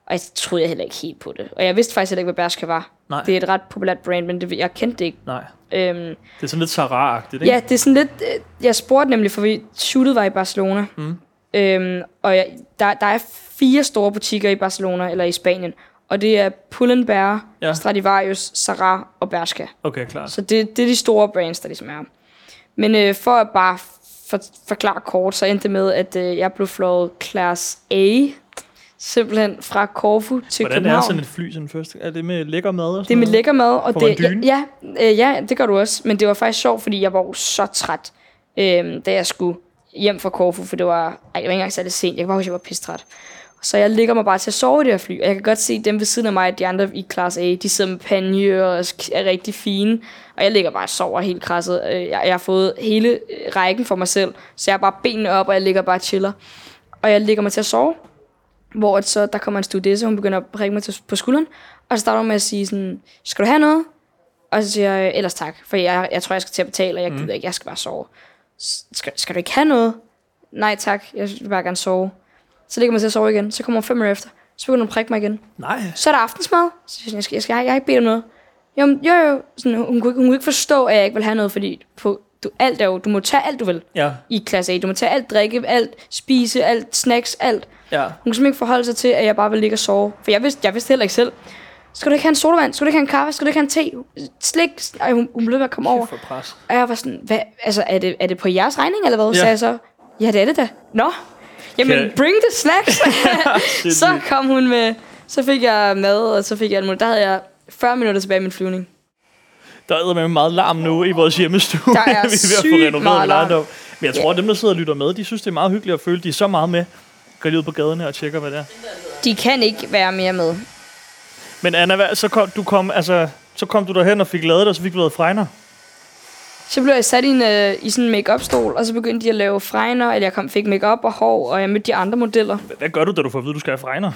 [SPEAKER 2] Og jeg troede jeg heller ikke helt på det. Og jeg vidste faktisk heller ikke, hvad Bershka var.
[SPEAKER 1] Nej.
[SPEAKER 2] Det er et ret populært brand, men det, jeg kendte det ikke.
[SPEAKER 1] Nej.
[SPEAKER 2] Øhm,
[SPEAKER 1] Det er sådan lidt Sarah-agtigt, ikke?
[SPEAKER 2] ja, det er sådan lidt... øh, Jeg spurgte nemlig, for vi shootet var i Barcelona.
[SPEAKER 1] Mm.
[SPEAKER 2] Øhm, og jeg, der, der er fire store butikker i Barcelona, eller i Spanien. Og det er Pull&Bear,
[SPEAKER 1] Ja.
[SPEAKER 2] ja. Stradivarius, Sarah og Bershka.
[SPEAKER 1] Okay, klart.
[SPEAKER 2] Så det, det er de store brands, der ligesom er. Men øh, for at bare for, forklare kort, så endte det med, at øh, jeg blev flået Class A, simpelthen fra Corfu til
[SPEAKER 1] Hvordan
[SPEAKER 2] København.
[SPEAKER 1] er sådan et fly sådan først? Er det med lækker mad og
[SPEAKER 2] Det er
[SPEAKER 1] sådan
[SPEAKER 2] med
[SPEAKER 1] noget?
[SPEAKER 2] lækker mad. Og
[SPEAKER 1] Får
[SPEAKER 2] det,
[SPEAKER 1] man dyne?
[SPEAKER 2] ja, øh, ja, det gør du også. Men det var faktisk sjovt, fordi jeg var jo så træt, øh, da jeg skulle hjem fra Corfu, for det var, ej, det var ikke engang særlig sent. Jeg kan bare huske, at jeg var pistræt. Så jeg ligger mig bare til at sove i det her fly, og jeg kan godt se dem ved siden af mig, at de andre i klasse A, de sidder med panje og sk- er rigtig fine, og jeg ligger bare og sover helt krasset. Øh, Jeg, jeg har fået hele øh, rækken for mig selv, så jeg har bare benene op, og jeg ligger bare og chiller. Og jeg ligger mig til at sove, hvor at så, der kommer en studesse, hun begynder at prikke mig til, på skulderen, og så starter hun med at sige sådan, skal du have noget? Og så siger jeg, ellers tak, for jeg, jeg tror, jeg skal til at betale, og jeg gider ikke, jeg skal bare sove. "S- Skal, skal du ikke have noget? Nej tak, jeg vil bare gerne sove. Så ligger man til at sove igen, så kommer hun fem minutter efter, så begynder hun at prikke mig igen.
[SPEAKER 1] Nej.
[SPEAKER 2] Så er der aftensmad, så siger jeg, sådan, jeg skal, jeg skal, jeg har ikke bedt om noget. Jo, men- jo, jo, sådan, hun, kunne, ikke- hun kunne ikke forstå, at jeg ikke vil have noget, fordi på, du, alt er jo, du må tage alt, du vil
[SPEAKER 1] Ja,
[SPEAKER 2] i klasse A. Du må tage alt drikke, alt spise, alt snacks, alt.
[SPEAKER 1] ja.
[SPEAKER 2] Hun kan simpelthen ikke forholde sig til, at jeg bare vil ligge og sove. For jeg vidste, jeg vidste heller ikke selv. Skal du ikke have en sodavand? Skal du ikke have en kaffe? Skal du ikke have en te? Slik? Ej, hun, hun blev ved at komme over.
[SPEAKER 1] Kæft for pres.
[SPEAKER 2] Og jeg var sådan, hvad, altså, er det, er det på jeres regning, eller hvad?
[SPEAKER 1] Ja.
[SPEAKER 2] Ja. Sagde jeg så, ja, det er det da. Nå, jamen,
[SPEAKER 1] Kan-
[SPEAKER 2] bring the
[SPEAKER 1] *laughs*
[SPEAKER 2] snacks. så
[SPEAKER 1] Sindssygt.
[SPEAKER 2] kom hun med, så fik jeg mad, og så fik jeg alt muligt. Der havde jeg 40 minutter tilbage i min flyvning.
[SPEAKER 1] Der er med meget larm nu i vores hjemmestue. *laughs*
[SPEAKER 2] Der er
[SPEAKER 1] vi er ved at
[SPEAKER 2] sygt
[SPEAKER 1] få renoveret
[SPEAKER 2] meget larm.
[SPEAKER 1] larm. Men jeg tror, at dem, der sidder og lytter med, de synes, det er meget hyggeligt at føle, de er så meget med. Går lige ud på gaderne og tjekker, hvad det er.
[SPEAKER 2] De kan ikke være mere med.
[SPEAKER 1] Men Anna, hvad, så, kom, du kom, altså, så kom du derhen og fik lavet det, og så fik du lavet fregner.
[SPEAKER 2] Så blev jeg sat i, en, øh, i sådan en make-up-stol, og så begyndte de at lave fregner, eller jeg kom, fik make-up og hår, og jeg mødte de andre modeller.
[SPEAKER 1] Hvad- Hvad gør du, da du får at vide, du skal have fregner?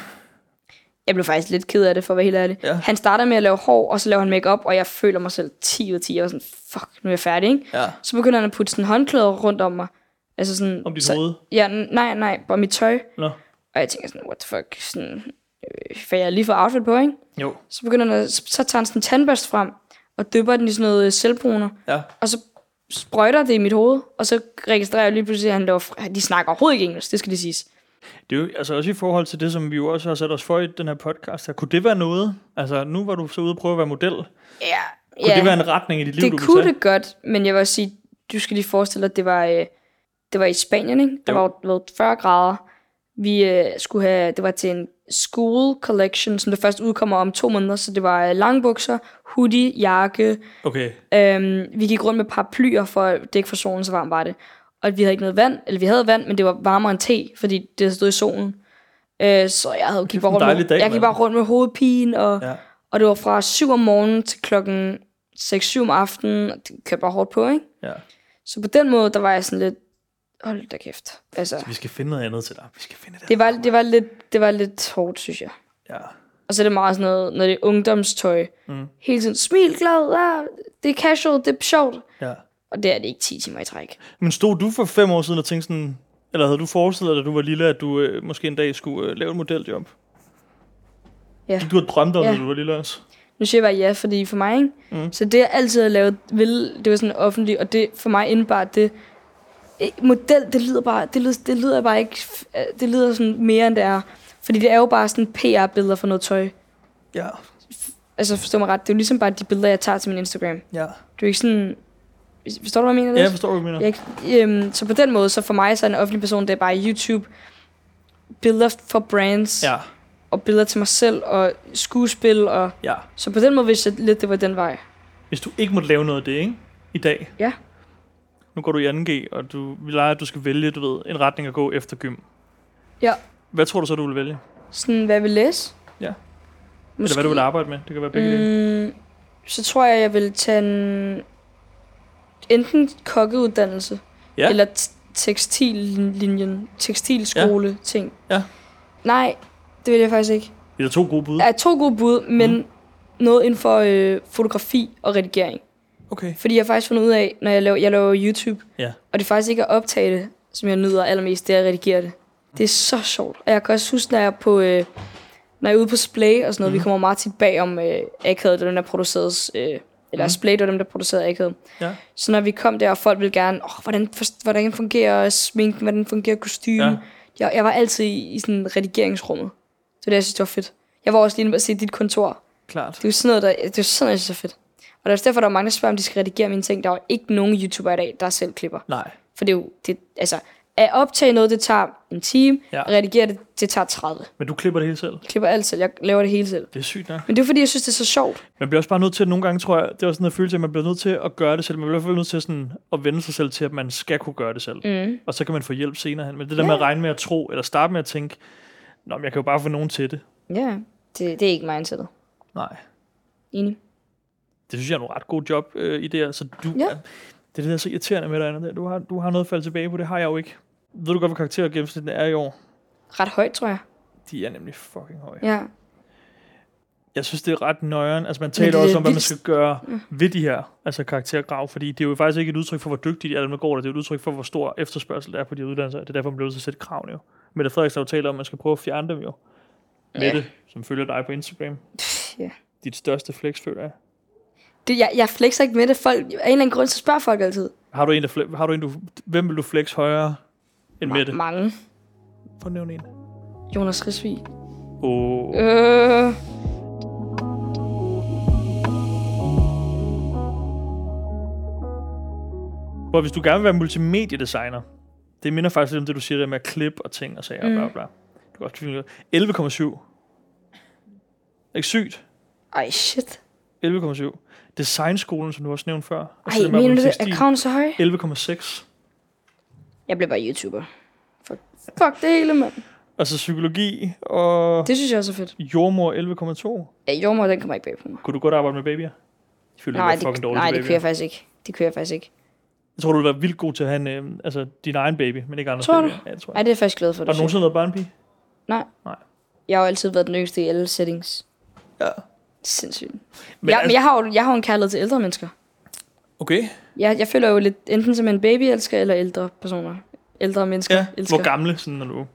[SPEAKER 2] Jeg blev faktisk lidt ked af det, for at være helt ærlig.
[SPEAKER 1] Ja.
[SPEAKER 2] Ja. Han starter med at lave hår, og så laver han makeup, og jeg føler mig selv 10 ud af 10. Jeg var sådan, fuck, nu er jeg færdig, ikke?
[SPEAKER 1] Ja.
[SPEAKER 2] Så begynder han at putte sådan håndklæder rundt om mig. Altså sådan,
[SPEAKER 1] Om dit
[SPEAKER 2] så,
[SPEAKER 1] hoved?
[SPEAKER 2] Ja, n- nej, nej, bare mit tøj.
[SPEAKER 1] Nå.
[SPEAKER 2] Og jeg tænker sådan, what the fuck, sådan, øh, for jeg har lige fået outfit på, ikke?
[SPEAKER 1] Jo.
[SPEAKER 2] Så begynder han at, så, så tager han sådan en tandbørste frem, og dypper den i sådan noget øh, selvbruner.
[SPEAKER 1] Ja.
[SPEAKER 2] Og så sprøjter det i mit hoved, og så registrerer jeg lige pludselig, at han laver, fr- de snakker overhovedet ikke engelsk, det skal lige siges.
[SPEAKER 1] Det er jo altså også i forhold til det, som vi jo også har sat os for i den her podcast her. Kunne det være noget? Altså, nu var du så ude og prøve at være model. Kunne
[SPEAKER 2] Ja,
[SPEAKER 1] ja. det være en retning i dit liv, du
[SPEAKER 2] det
[SPEAKER 1] ville
[SPEAKER 2] kunne
[SPEAKER 1] tage?
[SPEAKER 2] det godt, men jeg vil også sige, du skal lige forestille dig, at det var, øh, det var i Spanien, ikke? Der
[SPEAKER 1] Jo.
[SPEAKER 2] var jo været 40 grader. Vi øh, skulle have, det var til en school collection, som der først udkommer om to måneder, så det var øh, langbukser, hoodie, jakke.
[SPEAKER 1] Okay.
[SPEAKER 2] Øhm, vi gik rundt med paraplyer, for at det ikke for solen, så varmt var det. Og vi havde ikke noget vand, eller vi havde vand, men det var varmere end te, fordi det stod i solen. Øh, så jeg havde gik bare rundt, med,
[SPEAKER 1] dejlig dag,
[SPEAKER 2] jeg gik
[SPEAKER 1] mand.
[SPEAKER 2] bare rundt med hovedpine, og
[SPEAKER 1] Ja.
[SPEAKER 2] og det var fra 7 om morgenen til klokken 6-7 om aftenen. og Det kørte bare hårdt på, ikke?
[SPEAKER 1] ja.
[SPEAKER 2] Så på den måde, der var jeg sådan lidt, hold da kæft. Altså,
[SPEAKER 1] Vi skal finde noget andet til dig. Vi skal finde det.
[SPEAKER 2] det var, det var, lidt, det var lidt hårdt, synes jeg.
[SPEAKER 1] Ja.
[SPEAKER 2] Og så er det meget sådan noget, når det er ungdomstøj.
[SPEAKER 1] Mm.
[SPEAKER 2] Hele tiden, smil, glad, ah, det er casual, det er sjovt.
[SPEAKER 1] ja.
[SPEAKER 2] Og det er det ikke 10 timer i træk.
[SPEAKER 1] Men stod du for fem år siden og tænkte sådan, eller havde du forestillet dig, da du var lille, at du øh, måske en dag skulle øh, lave et modeljob?
[SPEAKER 2] Ja.
[SPEAKER 1] Du har drømt om, ja.
[SPEAKER 2] Ja.
[SPEAKER 1] da du var lille også.
[SPEAKER 2] Nu siger jeg bare ja, fordi for mig, ikke? Mm. Så det, jeg altid har lavet, ville, det var sådan offentligt, og det for mig indebar det, eh, model, det lyder bare, det lyder, det lyder bare ikke, f- eh, det lyder sådan mere, end det er. Fordi det er jo bare sådan PR-billeder for noget tøj.
[SPEAKER 1] Ja,
[SPEAKER 2] Altså forstå mig ret, det er jo ligesom bare de billeder, jeg tager til min Instagram. Det
[SPEAKER 1] ja.
[SPEAKER 2] er jo ikke sådan, forstår du, hvad jeg mener?
[SPEAKER 1] Ja, jeg
[SPEAKER 2] lidt?
[SPEAKER 1] forstår, hvad du mener.
[SPEAKER 2] Jeg, øhm, så på den måde, så for mig, så er en offentlig person, det er bare YouTube, billeder for brands,
[SPEAKER 1] Ja,
[SPEAKER 2] og billeder til mig selv, og skuespil, og
[SPEAKER 1] ja.
[SPEAKER 2] så på den måde vidste jeg lidt, det var den vej.
[SPEAKER 1] Hvis du ikke måtte lave noget af det, ikke? I dag.
[SPEAKER 2] Ja.
[SPEAKER 1] Nu går du i 2G, og du vi leger, at du skal vælge, du ved, en retning at gå efter gym.
[SPEAKER 2] Ja.
[SPEAKER 1] Hvad tror du så, du vil vælge? Måske.
[SPEAKER 2] Sådan, hvad jeg vil læse.
[SPEAKER 1] Ja. Eller
[SPEAKER 2] Måske.
[SPEAKER 1] hvad du vil arbejde med? Det kan være begge mm.
[SPEAKER 2] mm, Så tror jeg, jeg vil tage en... Enten kokkeuddannelse,
[SPEAKER 1] Ja.
[SPEAKER 2] eller t- tekstillinjen, tekstilskole-ting.
[SPEAKER 1] Ja. Ja.
[SPEAKER 2] Nej, det vil jeg faktisk ikke.
[SPEAKER 1] Det er da to gode bud.
[SPEAKER 2] er to gode bud, men mm. noget inden for øh, fotografi og redigering.
[SPEAKER 1] Okay.
[SPEAKER 2] Fordi jeg har faktisk fundet ud af, når jeg laver, jeg laver YouTube,
[SPEAKER 1] Ja.
[SPEAKER 2] og det er faktisk ikke at optage det, som jeg nyder allermest, det er at redigere det. Det er så sjovt. Og jeg kan også huske, når jeg er, på, øh, når jeg er ude på Splay og
[SPEAKER 1] Mhm.
[SPEAKER 2] sådan noget, mm. vi kommer meget tit bag om øh, Akavet, det er dem, der producerede, øh, eller
[SPEAKER 1] Mhm.
[SPEAKER 2] mm. Splay, det var dem, der producerede Akavet.
[SPEAKER 1] Ja.
[SPEAKER 2] Så når vi kom der, og folk ville gerne, oh, hvordan, forst- hvordan fungerer sminken, hvordan fungerer kostymen.
[SPEAKER 1] Ja.
[SPEAKER 2] Ja. Jeg, jeg var altid i, i sådan redigeringsrummet. Det var det, jeg synes, det var fedt. Jeg var også lige inde og se dit kontor.
[SPEAKER 1] Klart.
[SPEAKER 2] Det er jo sådan noget, der, det er jo sådan noget, jeg synes er fedt. Og det er også derfor, der er mange, der spørger, om de skal redigere mine ting. Der er jo ikke nogen YouTuber i dag, der selv klipper.
[SPEAKER 1] Nej.
[SPEAKER 2] For det er jo, det, altså, at optage noget, det tager en time.
[SPEAKER 1] Ja.
[SPEAKER 2] Ja. At redigere det, det tager 30.
[SPEAKER 1] Men du klipper det hele selv.
[SPEAKER 2] Jeg klipper alt selv, jeg laver det hele selv.
[SPEAKER 1] Det er sygt nok.
[SPEAKER 2] Men det er jo, fordi, jeg synes, det er så sjovt.
[SPEAKER 1] Man bliver også bare nødt til, at nogle gange tror jeg, det er også sådan en følelse, at man bliver nødt til at gøre det selv. Man bliver i hvert fald nødt til sådan at vende sig selv til, at man skal kunne gøre det selv.
[SPEAKER 2] Mm.
[SPEAKER 1] Og så kan man få hjælp senere hen. Men det der med at regne med at tro, eller starte med at tænke, Nå, men jeg kan jo bare få nogen til det.
[SPEAKER 2] Ja, det, det er ikke mindsetet.
[SPEAKER 1] Nej.
[SPEAKER 2] Enig.
[SPEAKER 1] Det synes jeg er nogle ret gode job øh, i det her. Så du,
[SPEAKER 2] Ja.
[SPEAKER 1] ja. Det er det, der er så irriterende med dig, Anna. der. Du har, du har noget at falde tilbage på, det har jeg jo ikke. Ved du godt, hvad karakterer gennemsnittet er i år?
[SPEAKER 2] Ret højt, tror jeg.
[SPEAKER 1] De er nemlig fucking høje.
[SPEAKER 2] Ja.
[SPEAKER 1] jeg synes, det er ret nøjeren. Altså, man taler
[SPEAKER 2] det er
[SPEAKER 1] også om, hvad man
[SPEAKER 2] vildt.
[SPEAKER 1] skal gøre ved de her altså, karaktergrav, fordi det er jo faktisk ikke et udtryk for, hvor dygtige de er, dem der går der. Det er jo et udtryk for, hvor stor efterspørgsel der er på de her uddannelser. Det er derfor, man bliver nødt til at sætte kravene jo. Mette Frederiksen har jo talt om, at man skal prøve at fjerne dem jo. Mette, som følger dig på Instagram.
[SPEAKER 2] Pff, ja.
[SPEAKER 1] Dit største flex, føler jeg.
[SPEAKER 2] Det, jeg, jeg flexer ikke med det. Folk, af en eller anden grund, så spørger folk altid.
[SPEAKER 1] Har du en, der fle- har du en du, hvem vil du flex højere end Mette?
[SPEAKER 2] Mange.
[SPEAKER 1] Prøv at nævne en.
[SPEAKER 2] Jonas Risvig.
[SPEAKER 1] Oh.
[SPEAKER 2] Øh.
[SPEAKER 1] Hvor hvis du gerne vil være multimediedesigner, det minder faktisk lidt om det, du siger der med at klippe og ting og sager og
[SPEAKER 2] Mm.
[SPEAKER 1] bla bla. Du kan også finde ud af- 11,7. Ikke sygt.
[SPEAKER 2] Ej, shit.
[SPEAKER 1] 11,7. Designskolen, som du også nævnte før.
[SPEAKER 2] Ej,
[SPEAKER 1] Altså det med
[SPEAKER 2] mener du det?
[SPEAKER 1] tekstil.
[SPEAKER 2] Er kraven så høj?
[SPEAKER 1] 11,6.
[SPEAKER 2] Jeg bliver bare YouTuber. Fuck, Fuck det hele, mand.
[SPEAKER 1] Altså psykologi og
[SPEAKER 2] Det synes jeg også er fedt.
[SPEAKER 1] jordmor 11,2.
[SPEAKER 2] Ja, jordmor, den kommer ikke bag på mig.
[SPEAKER 1] Kunne du godt arbejde med babyer? Jeg føler,
[SPEAKER 2] Nej,
[SPEAKER 1] du er fucking
[SPEAKER 2] det,
[SPEAKER 1] dårlig
[SPEAKER 2] nej,
[SPEAKER 1] til
[SPEAKER 2] det
[SPEAKER 1] babyer.
[SPEAKER 2] kører jeg faktisk ikke. Det kører jeg faktisk ikke.
[SPEAKER 1] Jeg tror, du ville være vildt god til at have en, øh, altså, din egen baby, men ikke andres
[SPEAKER 2] Tror du?
[SPEAKER 1] babyer. Ja, det tror jeg.
[SPEAKER 2] Nej, det er jeg faktisk glad for,
[SPEAKER 1] Har
[SPEAKER 2] du
[SPEAKER 1] du
[SPEAKER 2] siger.
[SPEAKER 1] nogensinde været barnpige?
[SPEAKER 2] Jeg har jo altid været den yngste i alle settings.
[SPEAKER 1] Ja.
[SPEAKER 2] Sindssygt. Men,
[SPEAKER 1] Men,
[SPEAKER 2] jeg,
[SPEAKER 1] altså,
[SPEAKER 2] men jeg, har jo, jeg har jo en kærlighed til ældre mennesker.
[SPEAKER 1] Okay.
[SPEAKER 2] Jeg, jeg føler jo lidt enten som en babyelsker eller ældre personer. Ældre mennesker
[SPEAKER 1] Ja.
[SPEAKER 2] elsker.
[SPEAKER 1] Hvor gamle, sådan, når du...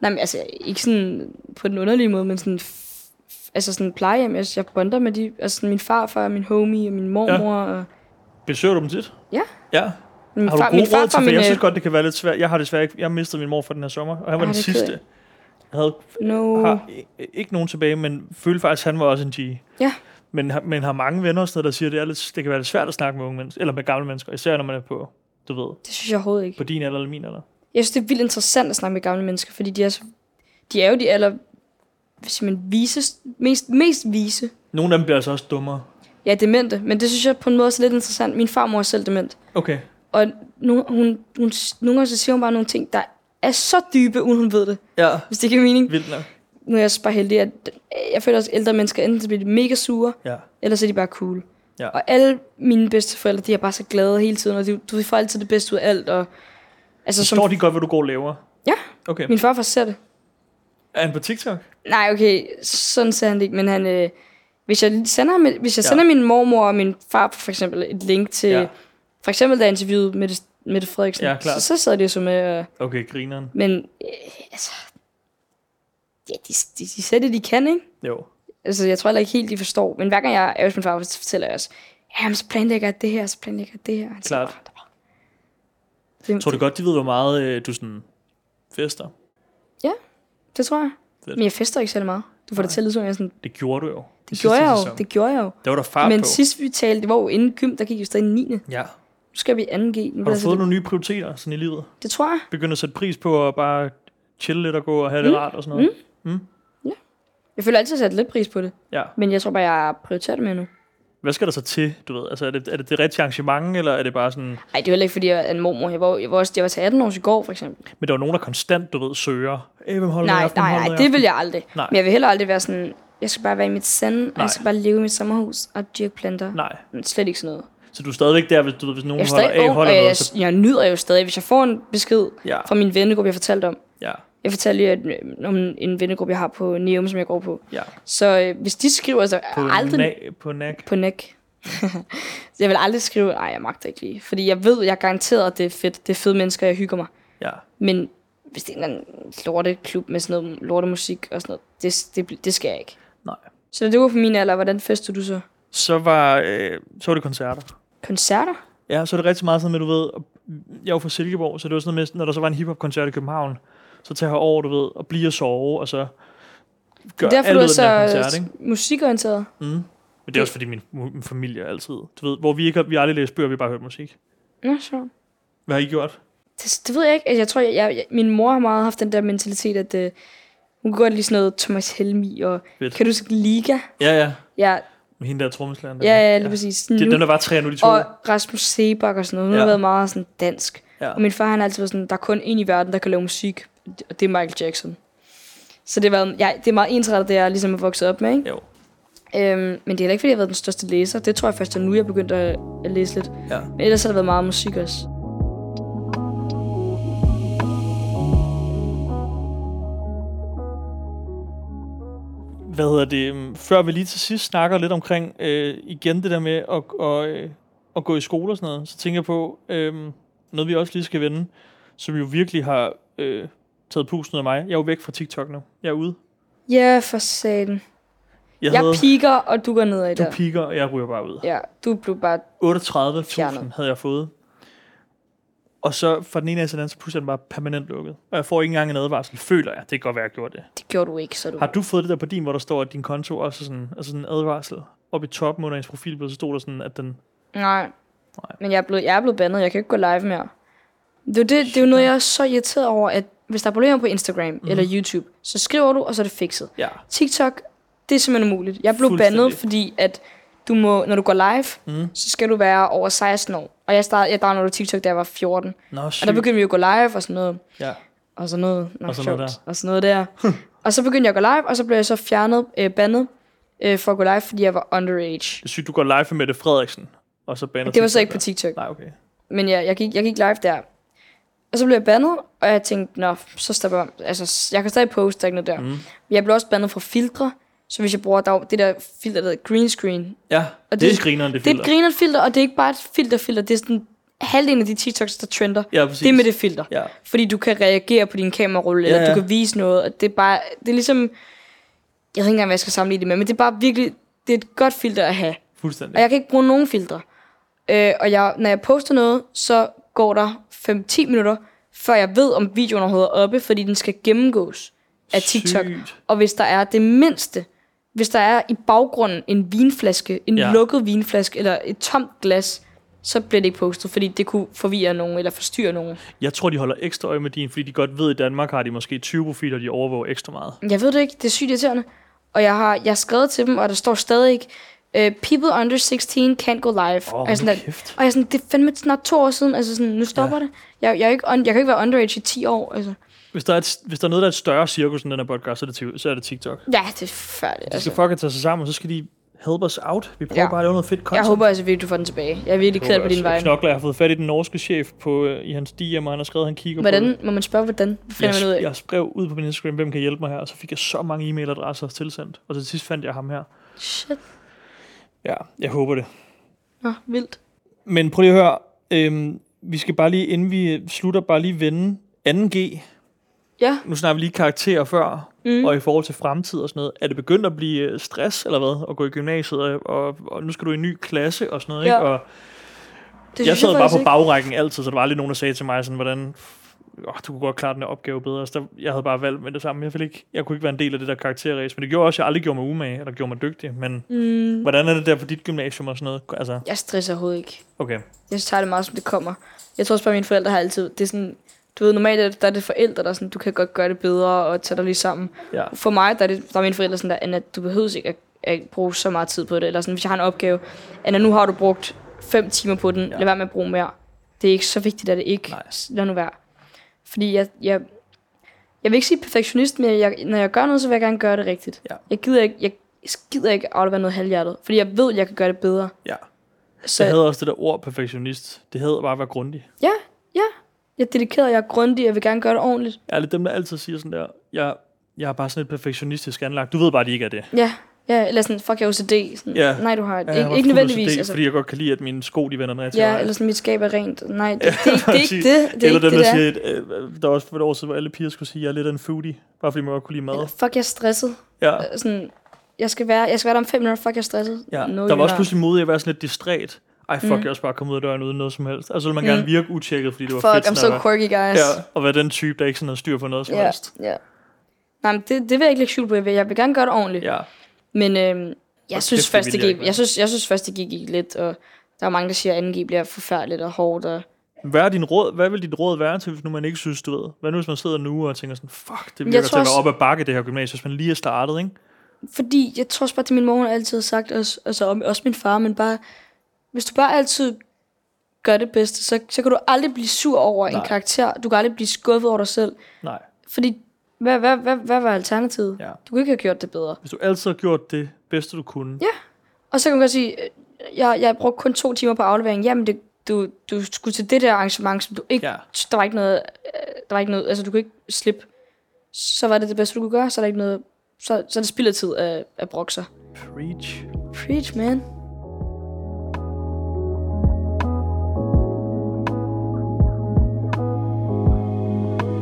[SPEAKER 2] Nej, men altså, ikke sådan på den underlige måde, men sådan, f- f- altså sådan plejehjem. Jeg, jeg bonder med de, altså sådan min farfar, min homie og min mormor. Ja. Og
[SPEAKER 1] Besøger du dem tit?
[SPEAKER 2] Ja.
[SPEAKER 1] Ja.
[SPEAKER 2] min
[SPEAKER 1] Har du gode råd til, for jeg
[SPEAKER 2] øh,
[SPEAKER 1] synes godt, det kan være lidt svært. Jeg har desværre ikke, jeg mistede min mor for den her sommer, og han var
[SPEAKER 2] Ah,
[SPEAKER 1] den
[SPEAKER 2] det er Uh. ked af.
[SPEAKER 1] sidste. Jeg havde,
[SPEAKER 2] No.
[SPEAKER 1] har i- ikke nogen tilbage, men følte faktisk, at han var også en G.
[SPEAKER 2] Ja.
[SPEAKER 1] Men, har- men har mange venner og sådan noget, der siger, at det, er lidt, det kan være lidt svært at snakke med unge mennesker, eller med gamle mennesker, især når man er på, du ved,
[SPEAKER 2] Det synes jeg overhovedet ikke.
[SPEAKER 1] på din alder eller min alder.
[SPEAKER 2] Jeg synes, det er vildt interessant at snakke med gamle mennesker, fordi de er, så, de er jo de aller hvad siger man, visest, mest, mest vise.
[SPEAKER 1] Nogle af dem bliver altså også dummere.
[SPEAKER 2] Ja, demente, men det synes jeg på en måde også er lidt interessant. Min farmor er selv dement,
[SPEAKER 1] Okay.
[SPEAKER 2] og nogle, hun, hun, nogle gange så siger hun bare nogle ting, der er så dybe, uden hun ved det,
[SPEAKER 1] Ja.
[SPEAKER 2] hvis det giver mening.
[SPEAKER 1] Vildt nok.
[SPEAKER 2] Nu er jeg så bare heldig, at jeg føler også, at ældre mennesker enten så bliver de mega sure,
[SPEAKER 1] Ja.
[SPEAKER 2] eller så er de bare cool.
[SPEAKER 1] Ja.
[SPEAKER 2] Og alle mine bedsteforældre, de er bare så glade hele tiden, og de, du får altid det bedste ud af alt. Og, altså,
[SPEAKER 1] Forstår de godt, hvad du går og laver?
[SPEAKER 2] Ja.
[SPEAKER 1] Okay.
[SPEAKER 2] Min farfar ser det.
[SPEAKER 1] Er han på TikTok?
[SPEAKER 2] Nej, okay, sådan ser han det ikke, men han... Øh, hvis jeg sender, ham et- hvis jeg
[SPEAKER 1] Ja.
[SPEAKER 2] sender min mormor og min far for eksempel et link til...
[SPEAKER 1] Ja.
[SPEAKER 2] Ja. For eksempel, da jeg interviewede Mette, Mette Frederiksen,
[SPEAKER 1] Ja, klart.
[SPEAKER 2] så, så sad de jo så med... Øh,
[SPEAKER 1] Okay, grineren.
[SPEAKER 2] men øh, altså... Ja, de, de, de ser det, de kan, ikke?
[SPEAKER 1] Jo.
[SPEAKER 2] Altså, jeg tror heller ikke helt, de forstår. Men hver gang jeg er hos min far, så fortæller jeg også, jamen, så planlægger jeg det her, så planlægger jeg det her. Han siger
[SPEAKER 1] Klart.
[SPEAKER 2] bare, "Nå." Det,
[SPEAKER 1] Tror du godt, de ved, hvor meget øh, du sådan fester?
[SPEAKER 2] det tror jeg.
[SPEAKER 1] Fedt.
[SPEAKER 2] Men jeg fester ikke særlig meget. Du får det til at lyde, som om jeg er sådan,
[SPEAKER 1] Det gjorde du jo. i
[SPEAKER 2] det
[SPEAKER 1] sidste
[SPEAKER 2] gjorde jeg jo,
[SPEAKER 1] sæson.
[SPEAKER 2] det gjorde jeg jo.
[SPEAKER 1] Der var der fart
[SPEAKER 2] Men
[SPEAKER 1] på.
[SPEAKER 2] sidst vi talte, det var jo inden gym, der gik jo stadig 9. Nu
[SPEAKER 1] Ja.
[SPEAKER 2] skal vi i 2G. Nu
[SPEAKER 1] Har du
[SPEAKER 2] altså,
[SPEAKER 1] fået
[SPEAKER 2] det,
[SPEAKER 1] nogle nye prioriteter sådan i livet?
[SPEAKER 2] det tror jeg.
[SPEAKER 1] Begynder at sætte pris på at bare chille lidt og gå og have det
[SPEAKER 2] Mm.
[SPEAKER 1] rart og sådan noget?
[SPEAKER 2] Jeg føler altid, at jeg sætter lidt pris på det.
[SPEAKER 1] Ja.
[SPEAKER 2] Men jeg tror bare, jeg prioriterer det mere nu.
[SPEAKER 1] Hvad skal der så til, du ved? Altså, er det er det, det rigtige arrangement, eller er det bare sådan...
[SPEAKER 2] Ej, det er heller ikke, fordi jeg er en mormor. Jeg var, jeg var, også, jeg var til 18 år i går, for eksempel.
[SPEAKER 1] Men der er jo nogen, der konstant, du ved, søger. Æh, hvem holder i
[SPEAKER 2] Nej,
[SPEAKER 1] aften? Hvem
[SPEAKER 2] nej,
[SPEAKER 1] holder
[SPEAKER 2] nej,
[SPEAKER 1] i
[SPEAKER 2] det
[SPEAKER 1] aften?"
[SPEAKER 2] vil jeg aldrig.
[SPEAKER 1] Nej.
[SPEAKER 2] Men jeg vil heller aldrig være sådan, jeg skal bare være i mit sand, og
[SPEAKER 1] Nej.
[SPEAKER 2] jeg skal bare leve i mit sommerhus og dyrke planter.
[SPEAKER 1] Nej,
[SPEAKER 2] Men Slet ikke sådan noget.
[SPEAKER 1] så du er stadigvæk der, hvis, du ved, hvis nogen
[SPEAKER 2] Jeg er
[SPEAKER 1] holder
[SPEAKER 2] stadig øh,
[SPEAKER 1] af,
[SPEAKER 2] ung, og
[SPEAKER 1] holder
[SPEAKER 2] jeg,
[SPEAKER 1] noget, så...
[SPEAKER 2] jeg, jeg nyder jo stadig, hvis jeg får en besked
[SPEAKER 1] Ja,
[SPEAKER 2] fra min vennegruppe, jeg fortalte om,
[SPEAKER 1] ja.
[SPEAKER 2] Jeg fortalte lige at, øh, om en vennegruppe, jeg har på Neum, som jeg går på.
[SPEAKER 1] Ja.
[SPEAKER 2] Så øh, hvis de skriver, så
[SPEAKER 1] På,
[SPEAKER 2] aldrig...
[SPEAKER 1] na- på NAC.
[SPEAKER 2] På *laughs* næk. jeg vil aldrig skrive, nej, jeg magter ikke lige. Fordi jeg ved, jeg garanteret, at det er fedt. Det er fede mennesker, jeg hygger mig.
[SPEAKER 1] Ja.
[SPEAKER 2] Men hvis det er en eller anden lorteklub med sådan noget lortemusik og sådan noget, det, det, det skal jeg ikke.
[SPEAKER 1] Nej.
[SPEAKER 2] Så da det var på min alder, hvordan festede du så?
[SPEAKER 1] Så var, øh, så var det koncerter.
[SPEAKER 2] Koncerter?
[SPEAKER 1] Ja, så er det rigtig meget sådan med, du ved, og jeg var fra Silkeborg, så det var sådan noget med, når der så var en hiphop-koncert i København, så tager jeg over, du ved, og bliver og sove, og så gør
[SPEAKER 2] Derfor
[SPEAKER 1] alt
[SPEAKER 2] du
[SPEAKER 1] ud
[SPEAKER 2] er
[SPEAKER 1] af den her
[SPEAKER 2] så øh,
[SPEAKER 1] koncert, ikke?
[SPEAKER 2] musikorienteret.
[SPEAKER 1] Mm. Men det er også fordi min, min familie altid, du ved, hvor vi ikke har, vi har aldrig læst bøger, vi har bare hørt musik.
[SPEAKER 2] Nå, sjovt.
[SPEAKER 1] Hvad har I gjort?
[SPEAKER 2] Det, det ved jeg ikke. Altså, Jeg tror, jeg, jeg, jeg, min mor har meget haft den der mentalitet, at øh, hun kunne godt lide sådan noget Thomas Helmi og...
[SPEAKER 1] Fedt.
[SPEAKER 2] Kan du huske Liga?
[SPEAKER 1] Ja, ja.
[SPEAKER 2] Ja,
[SPEAKER 1] Med hende der trommeslæren. der.
[SPEAKER 2] ja, ja lige ja. præcis.
[SPEAKER 1] Det er
[SPEAKER 2] Nu-
[SPEAKER 1] dem, der var tre, og nu er de to.
[SPEAKER 2] og Rasmus Sebak og sådan noget. Hun ja.
[SPEAKER 1] Ja.
[SPEAKER 2] har været meget sådan dansk.
[SPEAKER 1] Ja.
[SPEAKER 2] Og min far han har altid været sådan, der er kun en i verden, der kan lave musik, og det er Michael Jackson. Så det, var, ja, det er meget ensrettet, det jeg ligesom er vokset op med, ikke?
[SPEAKER 1] Jo.
[SPEAKER 2] Øhm, men det er heller ikke, fordi jeg har været den største læser. Det tror jeg først er nu, jeg begyndte at, at læse lidt.
[SPEAKER 1] Ja.
[SPEAKER 2] Men ellers har der været meget musik også.
[SPEAKER 1] Hvad hedder det? øhm, Før vi lige til sidst snakker lidt omkring øh, igen det der med at, og, øh, at gå i skole og sådan noget, så tænker jeg på øh, noget, vi også lige skal vende, som jo virkelig har øh, taget pusten ud af mig. Jeg er jo væk fra TikTok nu. Jeg er ude.
[SPEAKER 2] Ja, for satan.
[SPEAKER 1] Jeg,
[SPEAKER 2] Jeg
[SPEAKER 1] havde,
[SPEAKER 2] piker, og du går nedad
[SPEAKER 1] du
[SPEAKER 2] der.
[SPEAKER 1] piker, og jeg ryger bare ud.
[SPEAKER 2] Ja, du blev bare...
[SPEAKER 1] 38.000
[SPEAKER 2] Fjernet.
[SPEAKER 1] havde jeg fået. Og så fra den ene af til den anden, så pludselig er den bare permanent lukket. Og jeg får ikke engang en advarsel, føler jeg. Det kan godt være, jeg gjorde det.
[SPEAKER 2] Det gjorde du ikke, så du...
[SPEAKER 1] Har du fået det der på din, hvor der står, at din konto også er sådan, altså sådan en advarsel? Oppe i toppen under ens profilbillede, så stod der sådan, at den...
[SPEAKER 2] Nej.
[SPEAKER 1] Nej.
[SPEAKER 2] Men jeg er, blevet, jeg er blevet bandet. Jeg kan ikke gå live mere. Det er, jo det, det er jo noget, jeg er så irriteret over, at hvis der er problemer på Instagram
[SPEAKER 1] Mhm.
[SPEAKER 2] mm. eller YouTube, så skriver du, og så er det fikset.
[SPEAKER 1] Ja.
[SPEAKER 2] TikTok, det er simpelthen umuligt. Jeg blev
[SPEAKER 1] Fuldstændig.
[SPEAKER 2] bandet, fordi at du må, når du går live,
[SPEAKER 1] Mm.
[SPEAKER 2] mm. så skal du være over 16 år. Og jeg, startede, jeg downloadede TikTok, da jeg var 14. Sygt.
[SPEAKER 1] Nå, sygt.
[SPEAKER 2] Og der begyndte vi jo at gå live og sådan noget.
[SPEAKER 1] Ja.
[SPEAKER 2] Og sådan noget. Nå,
[SPEAKER 1] Og sådan noget
[SPEAKER 2] sjovt. Og sådan noget der.
[SPEAKER 1] *laughs*
[SPEAKER 2] og så begyndte jeg at gå live, og så blev jeg så fjernet, øh, bandet, øh, for at gå live, fordi jeg var underage.
[SPEAKER 1] Det er sygt, du går live med Mette Frederiksen, og så banner
[SPEAKER 2] Det var så
[SPEAKER 1] TikTok
[SPEAKER 2] ikke på
[SPEAKER 1] der.
[SPEAKER 2] TikTok.
[SPEAKER 1] Nej, okay.
[SPEAKER 2] Men ja, jeg gik, jeg gik live der. Og så blev jeg bandet, og jeg tænkte, nå, så stopper jeg. Altså, s- jeg kan stadig poste, der er ikke noget der. Mm. Men jeg blev også bandet fra filtre, så hvis jeg bruger der, det der filter, der hedder green screen. Det,
[SPEAKER 1] Ja, og det, det
[SPEAKER 2] det-
[SPEAKER 1] er grineren, det,
[SPEAKER 2] det er et
[SPEAKER 1] filter.
[SPEAKER 2] griner filter, og det er ikke bare et filterfilter, det er sådan halvdelen af de TikToks, der trender.
[SPEAKER 1] Ja, præcis.
[SPEAKER 2] det er med det filter.
[SPEAKER 1] Ja.
[SPEAKER 2] Fordi du kan reagere på din kamerarulle,
[SPEAKER 1] Ja,
[SPEAKER 2] eller
[SPEAKER 1] ja.
[SPEAKER 2] du kan vise noget, og det er bare, det er ligesom, jeg ved ikke engang, hvad jeg skal sammenligne det med, men det er bare virkelig, det er et godt filter at have.
[SPEAKER 1] Fuldstændig.
[SPEAKER 2] Og jeg kan ikke bruge nogen filtre. Øh, og jeg, når jeg poster noget, så går der 5-10 minutter, før jeg ved, om videoen overhovedet er oppe, fordi den skal gennemgås af TikTok.
[SPEAKER 1] Sygt.
[SPEAKER 2] Og hvis der er det mindste, hvis der er i baggrunden en vinflaske, en
[SPEAKER 1] Ja.
[SPEAKER 2] ja. lukket vinflaske eller et tomt glas, så bliver det ikke postet, fordi det kunne forvirre nogen eller forstyrre nogen.
[SPEAKER 1] Jeg tror, de holder ekstra øje med din, fordi de godt ved, at i Danmark har de måske 20 profiler, de overvåger ekstra meget.
[SPEAKER 2] Jeg ved det ikke, det er sygt irriterende. Og jeg har, jeg har skrevet til dem, og der står stadig ikke, øh, people under 16 can't go live.
[SPEAKER 1] Åh,
[SPEAKER 2] og jeg er sådan,
[SPEAKER 1] hold
[SPEAKER 2] der-
[SPEAKER 1] kæft.
[SPEAKER 2] Og jeg er sådan, det er fandme snart to år siden. Altså sådan, nu stopper ja. det. Jeg, jeg, er ikke, un- jeg kan ikke være underage i 10 år. Altså.
[SPEAKER 1] Hvis der, er et, hvis der er noget, der er et større cirkus end den her podcast, så er det, ti- så er det TikTok.
[SPEAKER 2] Ja, det er færdigt.
[SPEAKER 1] De skal
[SPEAKER 2] Altså.
[SPEAKER 1] fucking tage sig sammen, og så skal de help os out. Vi prøver ja.
[SPEAKER 2] Ja.
[SPEAKER 1] bare at lave noget fedt content.
[SPEAKER 2] Jeg håber altså virkelig, du får den tilbage. Jeg er virkelig ked af det på din vej.
[SPEAKER 1] Knokler, jeg har fået fat i den norske chef på, øh, i hans DM, og han har skrevet, at han kigger på det.
[SPEAKER 2] Hvordan? Må man spørge, hvordan? Hvad finder man ud
[SPEAKER 1] Jeg,
[SPEAKER 2] af?
[SPEAKER 1] jeg skrev ud på min Instagram, hvem kan hjælpe mig her, og så fik jeg så mange e-mailadresser tilsendt. Og til sidst fandt jeg ham her.
[SPEAKER 2] Shit.
[SPEAKER 1] Ja, jeg håber det.
[SPEAKER 2] Nå, vildt.
[SPEAKER 1] Men prøv lige at høre, øhm, vi skal bare lige, inden vi øh, slutter, bare lige vende 2G.
[SPEAKER 2] Ja.
[SPEAKER 1] Nu snakker vi lige karakterer før, mm. og i forhold til fremtid og sådan noget. Er det begyndt at blive øh, stress, eller hvad, at gå i gymnasiet, og, og, og nu skal du i en ny klasse og sådan noget,
[SPEAKER 2] Ja.
[SPEAKER 1] ikke? Og,
[SPEAKER 2] Det
[SPEAKER 1] jeg
[SPEAKER 2] synes
[SPEAKER 1] sad bare
[SPEAKER 2] faktisk
[SPEAKER 1] på
[SPEAKER 2] ikke.
[SPEAKER 1] bagrækken altid, så der var aldrig nogen, der sagde til mig sådan, hvordan... Oh, du kunne godt klare den her opgave bedre. Så der, jeg havde bare valgt med det samme. Jeg, ville ikke, jeg kunne ikke være en del af det der karakterræs, men det gjorde også, at jeg aldrig gjorde mig umage, eller gjorde mig dygtig. Men mm. hvordan er det der på dit gymnasium og sådan noget? Altså,
[SPEAKER 2] Jeg stresser overhovedet ikke.
[SPEAKER 1] okay.
[SPEAKER 2] Jeg tager det meget, som det kommer. Jeg tror også bare, at mine forældre har altid... Det er sådan, du ved, normalt er det- der er det forældre, der er sådan, du kan godt gøre det bedre og tage dig lige sammen.
[SPEAKER 1] Ja.
[SPEAKER 2] For mig, der er, det, der er mine forældre sådan der, Anna, du behøver ikke at, at bruge så meget tid på det. Eller sådan, hvis jeg har en opgave, Anna, nu har du brugt fem timer på den,
[SPEAKER 1] Ja.
[SPEAKER 2] ja. lad være med at bruge mere. Det er ikke så vigtigt, at det ikke.
[SPEAKER 1] Nej.
[SPEAKER 2] S- Lad nu være. Fordi jeg, jeg, jeg vil ikke sige perfektionist, men jeg, når jeg gør noget, så vil jeg gerne gøre det rigtigt.
[SPEAKER 1] Ja.
[SPEAKER 2] Jeg gider ikke, jeg gider ikke aflevere noget halvhjertet, fordi jeg ved, jeg kan gøre det bedre.
[SPEAKER 1] Ja.
[SPEAKER 2] Så
[SPEAKER 1] Jeg havde også det der ord perfektionist. Det hedder bare at være grundig.
[SPEAKER 2] ja, ja, Jeg er dedikeret, jeg er grundig, jeg vil gerne gøre det ordentligt.
[SPEAKER 1] Jeg er lidt dem, der altid siger sådan der, jeg, jeg er bare sådan et perfektionistisk anlagt. Du ved bare, de ikke er det.
[SPEAKER 2] Ja, ja eller sådan, fuck, jeg er OCD. Sådan,
[SPEAKER 1] Ja.
[SPEAKER 2] Nej, du har det.
[SPEAKER 1] Ja,
[SPEAKER 2] Ja,
[SPEAKER 1] jeg har
[SPEAKER 2] ikke,
[SPEAKER 1] også fuld
[SPEAKER 2] ikke nødvendigvis.
[SPEAKER 1] OCD,
[SPEAKER 2] Altså,
[SPEAKER 1] Fordi jeg godt kan lide, at mine sko, de vender ned til
[SPEAKER 2] ja,
[SPEAKER 1] mig.
[SPEAKER 2] eller sådan, mit skab er rent. Nej, det, det, det, det, er ikke
[SPEAKER 1] præcis.
[SPEAKER 2] det. Det er
[SPEAKER 1] eller
[SPEAKER 2] ikke
[SPEAKER 1] dem,
[SPEAKER 2] det,
[SPEAKER 1] der
[SPEAKER 2] der er.
[SPEAKER 1] siger, at, øh, der var også for et år siden, hvor alle piger skulle sige, at jeg er lidt af en foodie, bare fordi man godt kunne lide mad.
[SPEAKER 2] Eller, fuck, jeg er stresset.
[SPEAKER 1] Ja,
[SPEAKER 2] Øh, Sådan, jeg skal, være, jeg skal være der om fem minutter. Fuck, jeg er stresset.
[SPEAKER 1] ja.
[SPEAKER 2] No,
[SPEAKER 1] der
[SPEAKER 2] you're
[SPEAKER 1] var også
[SPEAKER 2] not.
[SPEAKER 1] pludselig modig at være sådan lidt distræt. Ej, fuck,
[SPEAKER 2] Mm.
[SPEAKER 1] mm. jeg er også bare kommet ud af døren uden noget som helst. Altså, så ville man
[SPEAKER 2] Mm.
[SPEAKER 1] gerne virke utjekket, fordi det var
[SPEAKER 2] Fuck,
[SPEAKER 1] fedt.
[SPEAKER 2] I'm
[SPEAKER 1] sådan
[SPEAKER 2] so
[SPEAKER 1] at være-
[SPEAKER 2] quirky, guys.
[SPEAKER 1] Ja, og være den type, der ikke sådan har styr på noget som
[SPEAKER 2] Ja,
[SPEAKER 1] helst.
[SPEAKER 2] ja. Nej, men det, det vil jeg ikke lægge skjul på. Jeg vil, jeg vil gerne gøre det ordentligt.
[SPEAKER 1] Ja,
[SPEAKER 2] Men øhm, jeg,
[SPEAKER 1] kæft,
[SPEAKER 2] synes
[SPEAKER 1] det
[SPEAKER 2] første
[SPEAKER 1] ville jeg ikke
[SPEAKER 2] G,
[SPEAKER 1] være.
[SPEAKER 2] jeg, synes, jeg synes første G gik lidt, og der er mange, der siger, at anden G bliver forfærdeligt og hårdt. Og...
[SPEAKER 1] Hvad, er din råd, hvad vil dit råd være til, hvis nu man ikke synes, du ved? Hvad nu, hvis man sidder nu og tænker sådan, fuck, det
[SPEAKER 2] Jeg
[SPEAKER 1] virker
[SPEAKER 2] tror
[SPEAKER 1] til at være
[SPEAKER 2] også-
[SPEAKER 1] op ad bakke, det her gymnasie, hvis man lige er startet, ikke?
[SPEAKER 2] Fordi jeg tror også bare, at min mor hun har altid sagt, også, altså om- også min far, men bare, hvis du bare altid gør det bedste, så, så kan du aldrig blive sur over Nej.
[SPEAKER 1] Nej.
[SPEAKER 2] en karakter. Du kan aldrig blive skuffet over dig selv.
[SPEAKER 1] Nej.
[SPEAKER 2] Fordi, hvad, hvad, hvad, hvad var alternativet?
[SPEAKER 1] Ja.
[SPEAKER 2] Du kunne ikke have gjort det bedre.
[SPEAKER 1] Hvis du altid har gjort det bedste, du kunne. Ja.
[SPEAKER 2] Og så kan man godt sige, øh, jeg, jeg brugte kun to timer på afleveringen. Jamen, det, du, du skulle til det der arrangement, som du ikke...
[SPEAKER 1] Ja.
[SPEAKER 2] Der var ikke noget... øh, Der var ikke noget... Altså, du kunne ikke slippe. Så var det det bedste, du kunne gøre. Så er der ikke noget... Så, så er det spild af tid at, at brokke sig.
[SPEAKER 1] Preach.
[SPEAKER 2] Preach, man.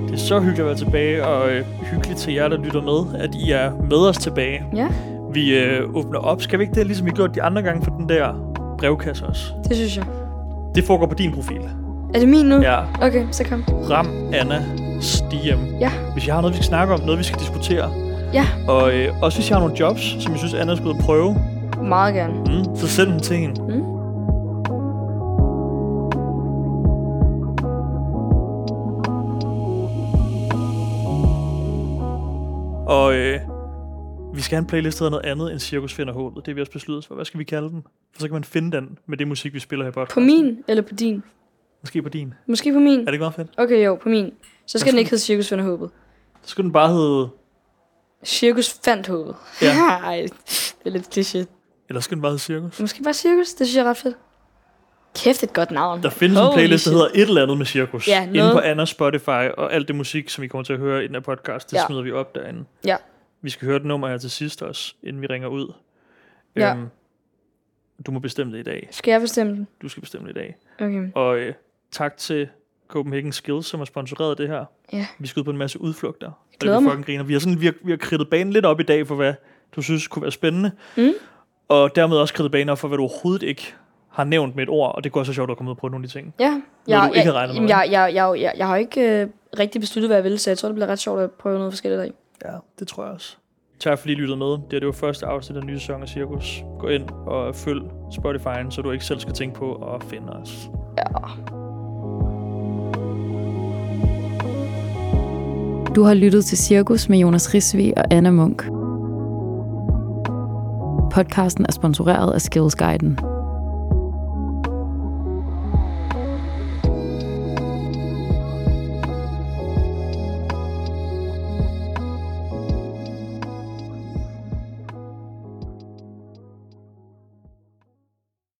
[SPEAKER 1] Det er så hyggeligt at være tilbage, og øh, hyggeligt til jer, der lytter med, at I er med os tilbage.
[SPEAKER 2] Ja,
[SPEAKER 1] Vi øh, åbner op. Skal vi ikke det, ligesom vi gjorde de andre gange for den der brevkasse også?
[SPEAKER 2] det synes jeg.
[SPEAKER 1] Det foregår på din profil.
[SPEAKER 2] Er det min nu?
[SPEAKER 1] Ja.
[SPEAKER 2] Okay, så kom.
[SPEAKER 1] Ram Anna Stiem.
[SPEAKER 2] Ja.
[SPEAKER 1] Hvis jeg har noget, vi skal snakke om, noget, vi skal diskutere.
[SPEAKER 2] Ja.
[SPEAKER 1] Og øh, også hvis jeg har nogle jobs, som jeg synes, Anna skulle ud og prøve,
[SPEAKER 2] Meget gerne.
[SPEAKER 1] mm, så send dem til hende.
[SPEAKER 2] Mm.
[SPEAKER 1] Og øh, vi skal have en playlist, der hedder noget andet end Cirkus finder håbet. Det er vi også besluttet os for. Hvad skal vi kalde den? For så kan man finde den med det musik, vi spiller her i
[SPEAKER 2] På
[SPEAKER 1] podcasten.
[SPEAKER 2] min eller på din?
[SPEAKER 1] Måske på din.
[SPEAKER 2] Måske på min.
[SPEAKER 1] Er det ikke meget fedt?
[SPEAKER 2] Okay, jo, på min. Så skal
[SPEAKER 1] Hvad
[SPEAKER 2] den ikke hedde Cirkus Finder Håbet.
[SPEAKER 1] Så skulle den bare hedde...
[SPEAKER 2] Cirkus fandt håbet.
[SPEAKER 1] Ja.
[SPEAKER 2] *laughs* Ej, det er lidt kliché.
[SPEAKER 1] Eller skulle den bare hedde Cirkus?
[SPEAKER 2] Måske bare cirkus, det synes jeg er ret fedt. Kæft, et godt navn.
[SPEAKER 1] Der findes Holy en
[SPEAKER 2] Holy
[SPEAKER 1] playlist, der
[SPEAKER 2] shit.
[SPEAKER 1] hedder et eller andet med Cirkus.
[SPEAKER 2] Ja,
[SPEAKER 1] inde
[SPEAKER 2] noget-
[SPEAKER 1] på Anna Spotify, og alt det musik, som I kommer til at høre i den her podcast, det ja.
[SPEAKER 2] Ja.
[SPEAKER 1] smider vi op derinde.
[SPEAKER 2] Ja.
[SPEAKER 1] Vi skal høre et nummer her til sidst også, inden vi ringer ud.
[SPEAKER 2] Ja.
[SPEAKER 1] Øhm, du må bestemme det i dag.
[SPEAKER 2] Skal jeg bestemme den?
[SPEAKER 1] Du skal bestemme det i dag.
[SPEAKER 2] Okay.
[SPEAKER 1] Og øh, tak til Copenhagen Skills, som har sponsoreret det her.
[SPEAKER 2] Ja.
[SPEAKER 1] Vi skal ud på en masse udflugter. og det
[SPEAKER 2] glæder
[SPEAKER 1] bliver
[SPEAKER 2] mig.
[SPEAKER 1] fucking griner. Vi har, sådan, vi, har, vi har kridtet banen lidt op i dag for, hvad du synes kunne være spændende.
[SPEAKER 2] Mm.
[SPEAKER 1] Og dermed også kridtet banen op for, hvad du overhovedet ikke har nævnt med et ord. Og det går så sjovt at komme ud på nogle af de ting.
[SPEAKER 2] Ja.
[SPEAKER 1] du ikke havde regnet med,
[SPEAKER 2] jamen, jeg, jeg, jeg, jeg, jeg har ikke øh, rigtig besluttet, hvad jeg vil, så jeg tror, det bliver ret sjovt at prøve noget forskelligt af.
[SPEAKER 1] Ja, det tror jeg også. Tak fordi I lyttede med. Det, her, det var første afsnit af den nye sæson af Cirkus. Gå ind og følg Spotify'en, så du ikke selv skal tænke på at finde os.
[SPEAKER 3] Du har lyttet til Cirkus med Jonas Risvi og Anna Munk. Podcasten er sponsoreret af Skills Guiden.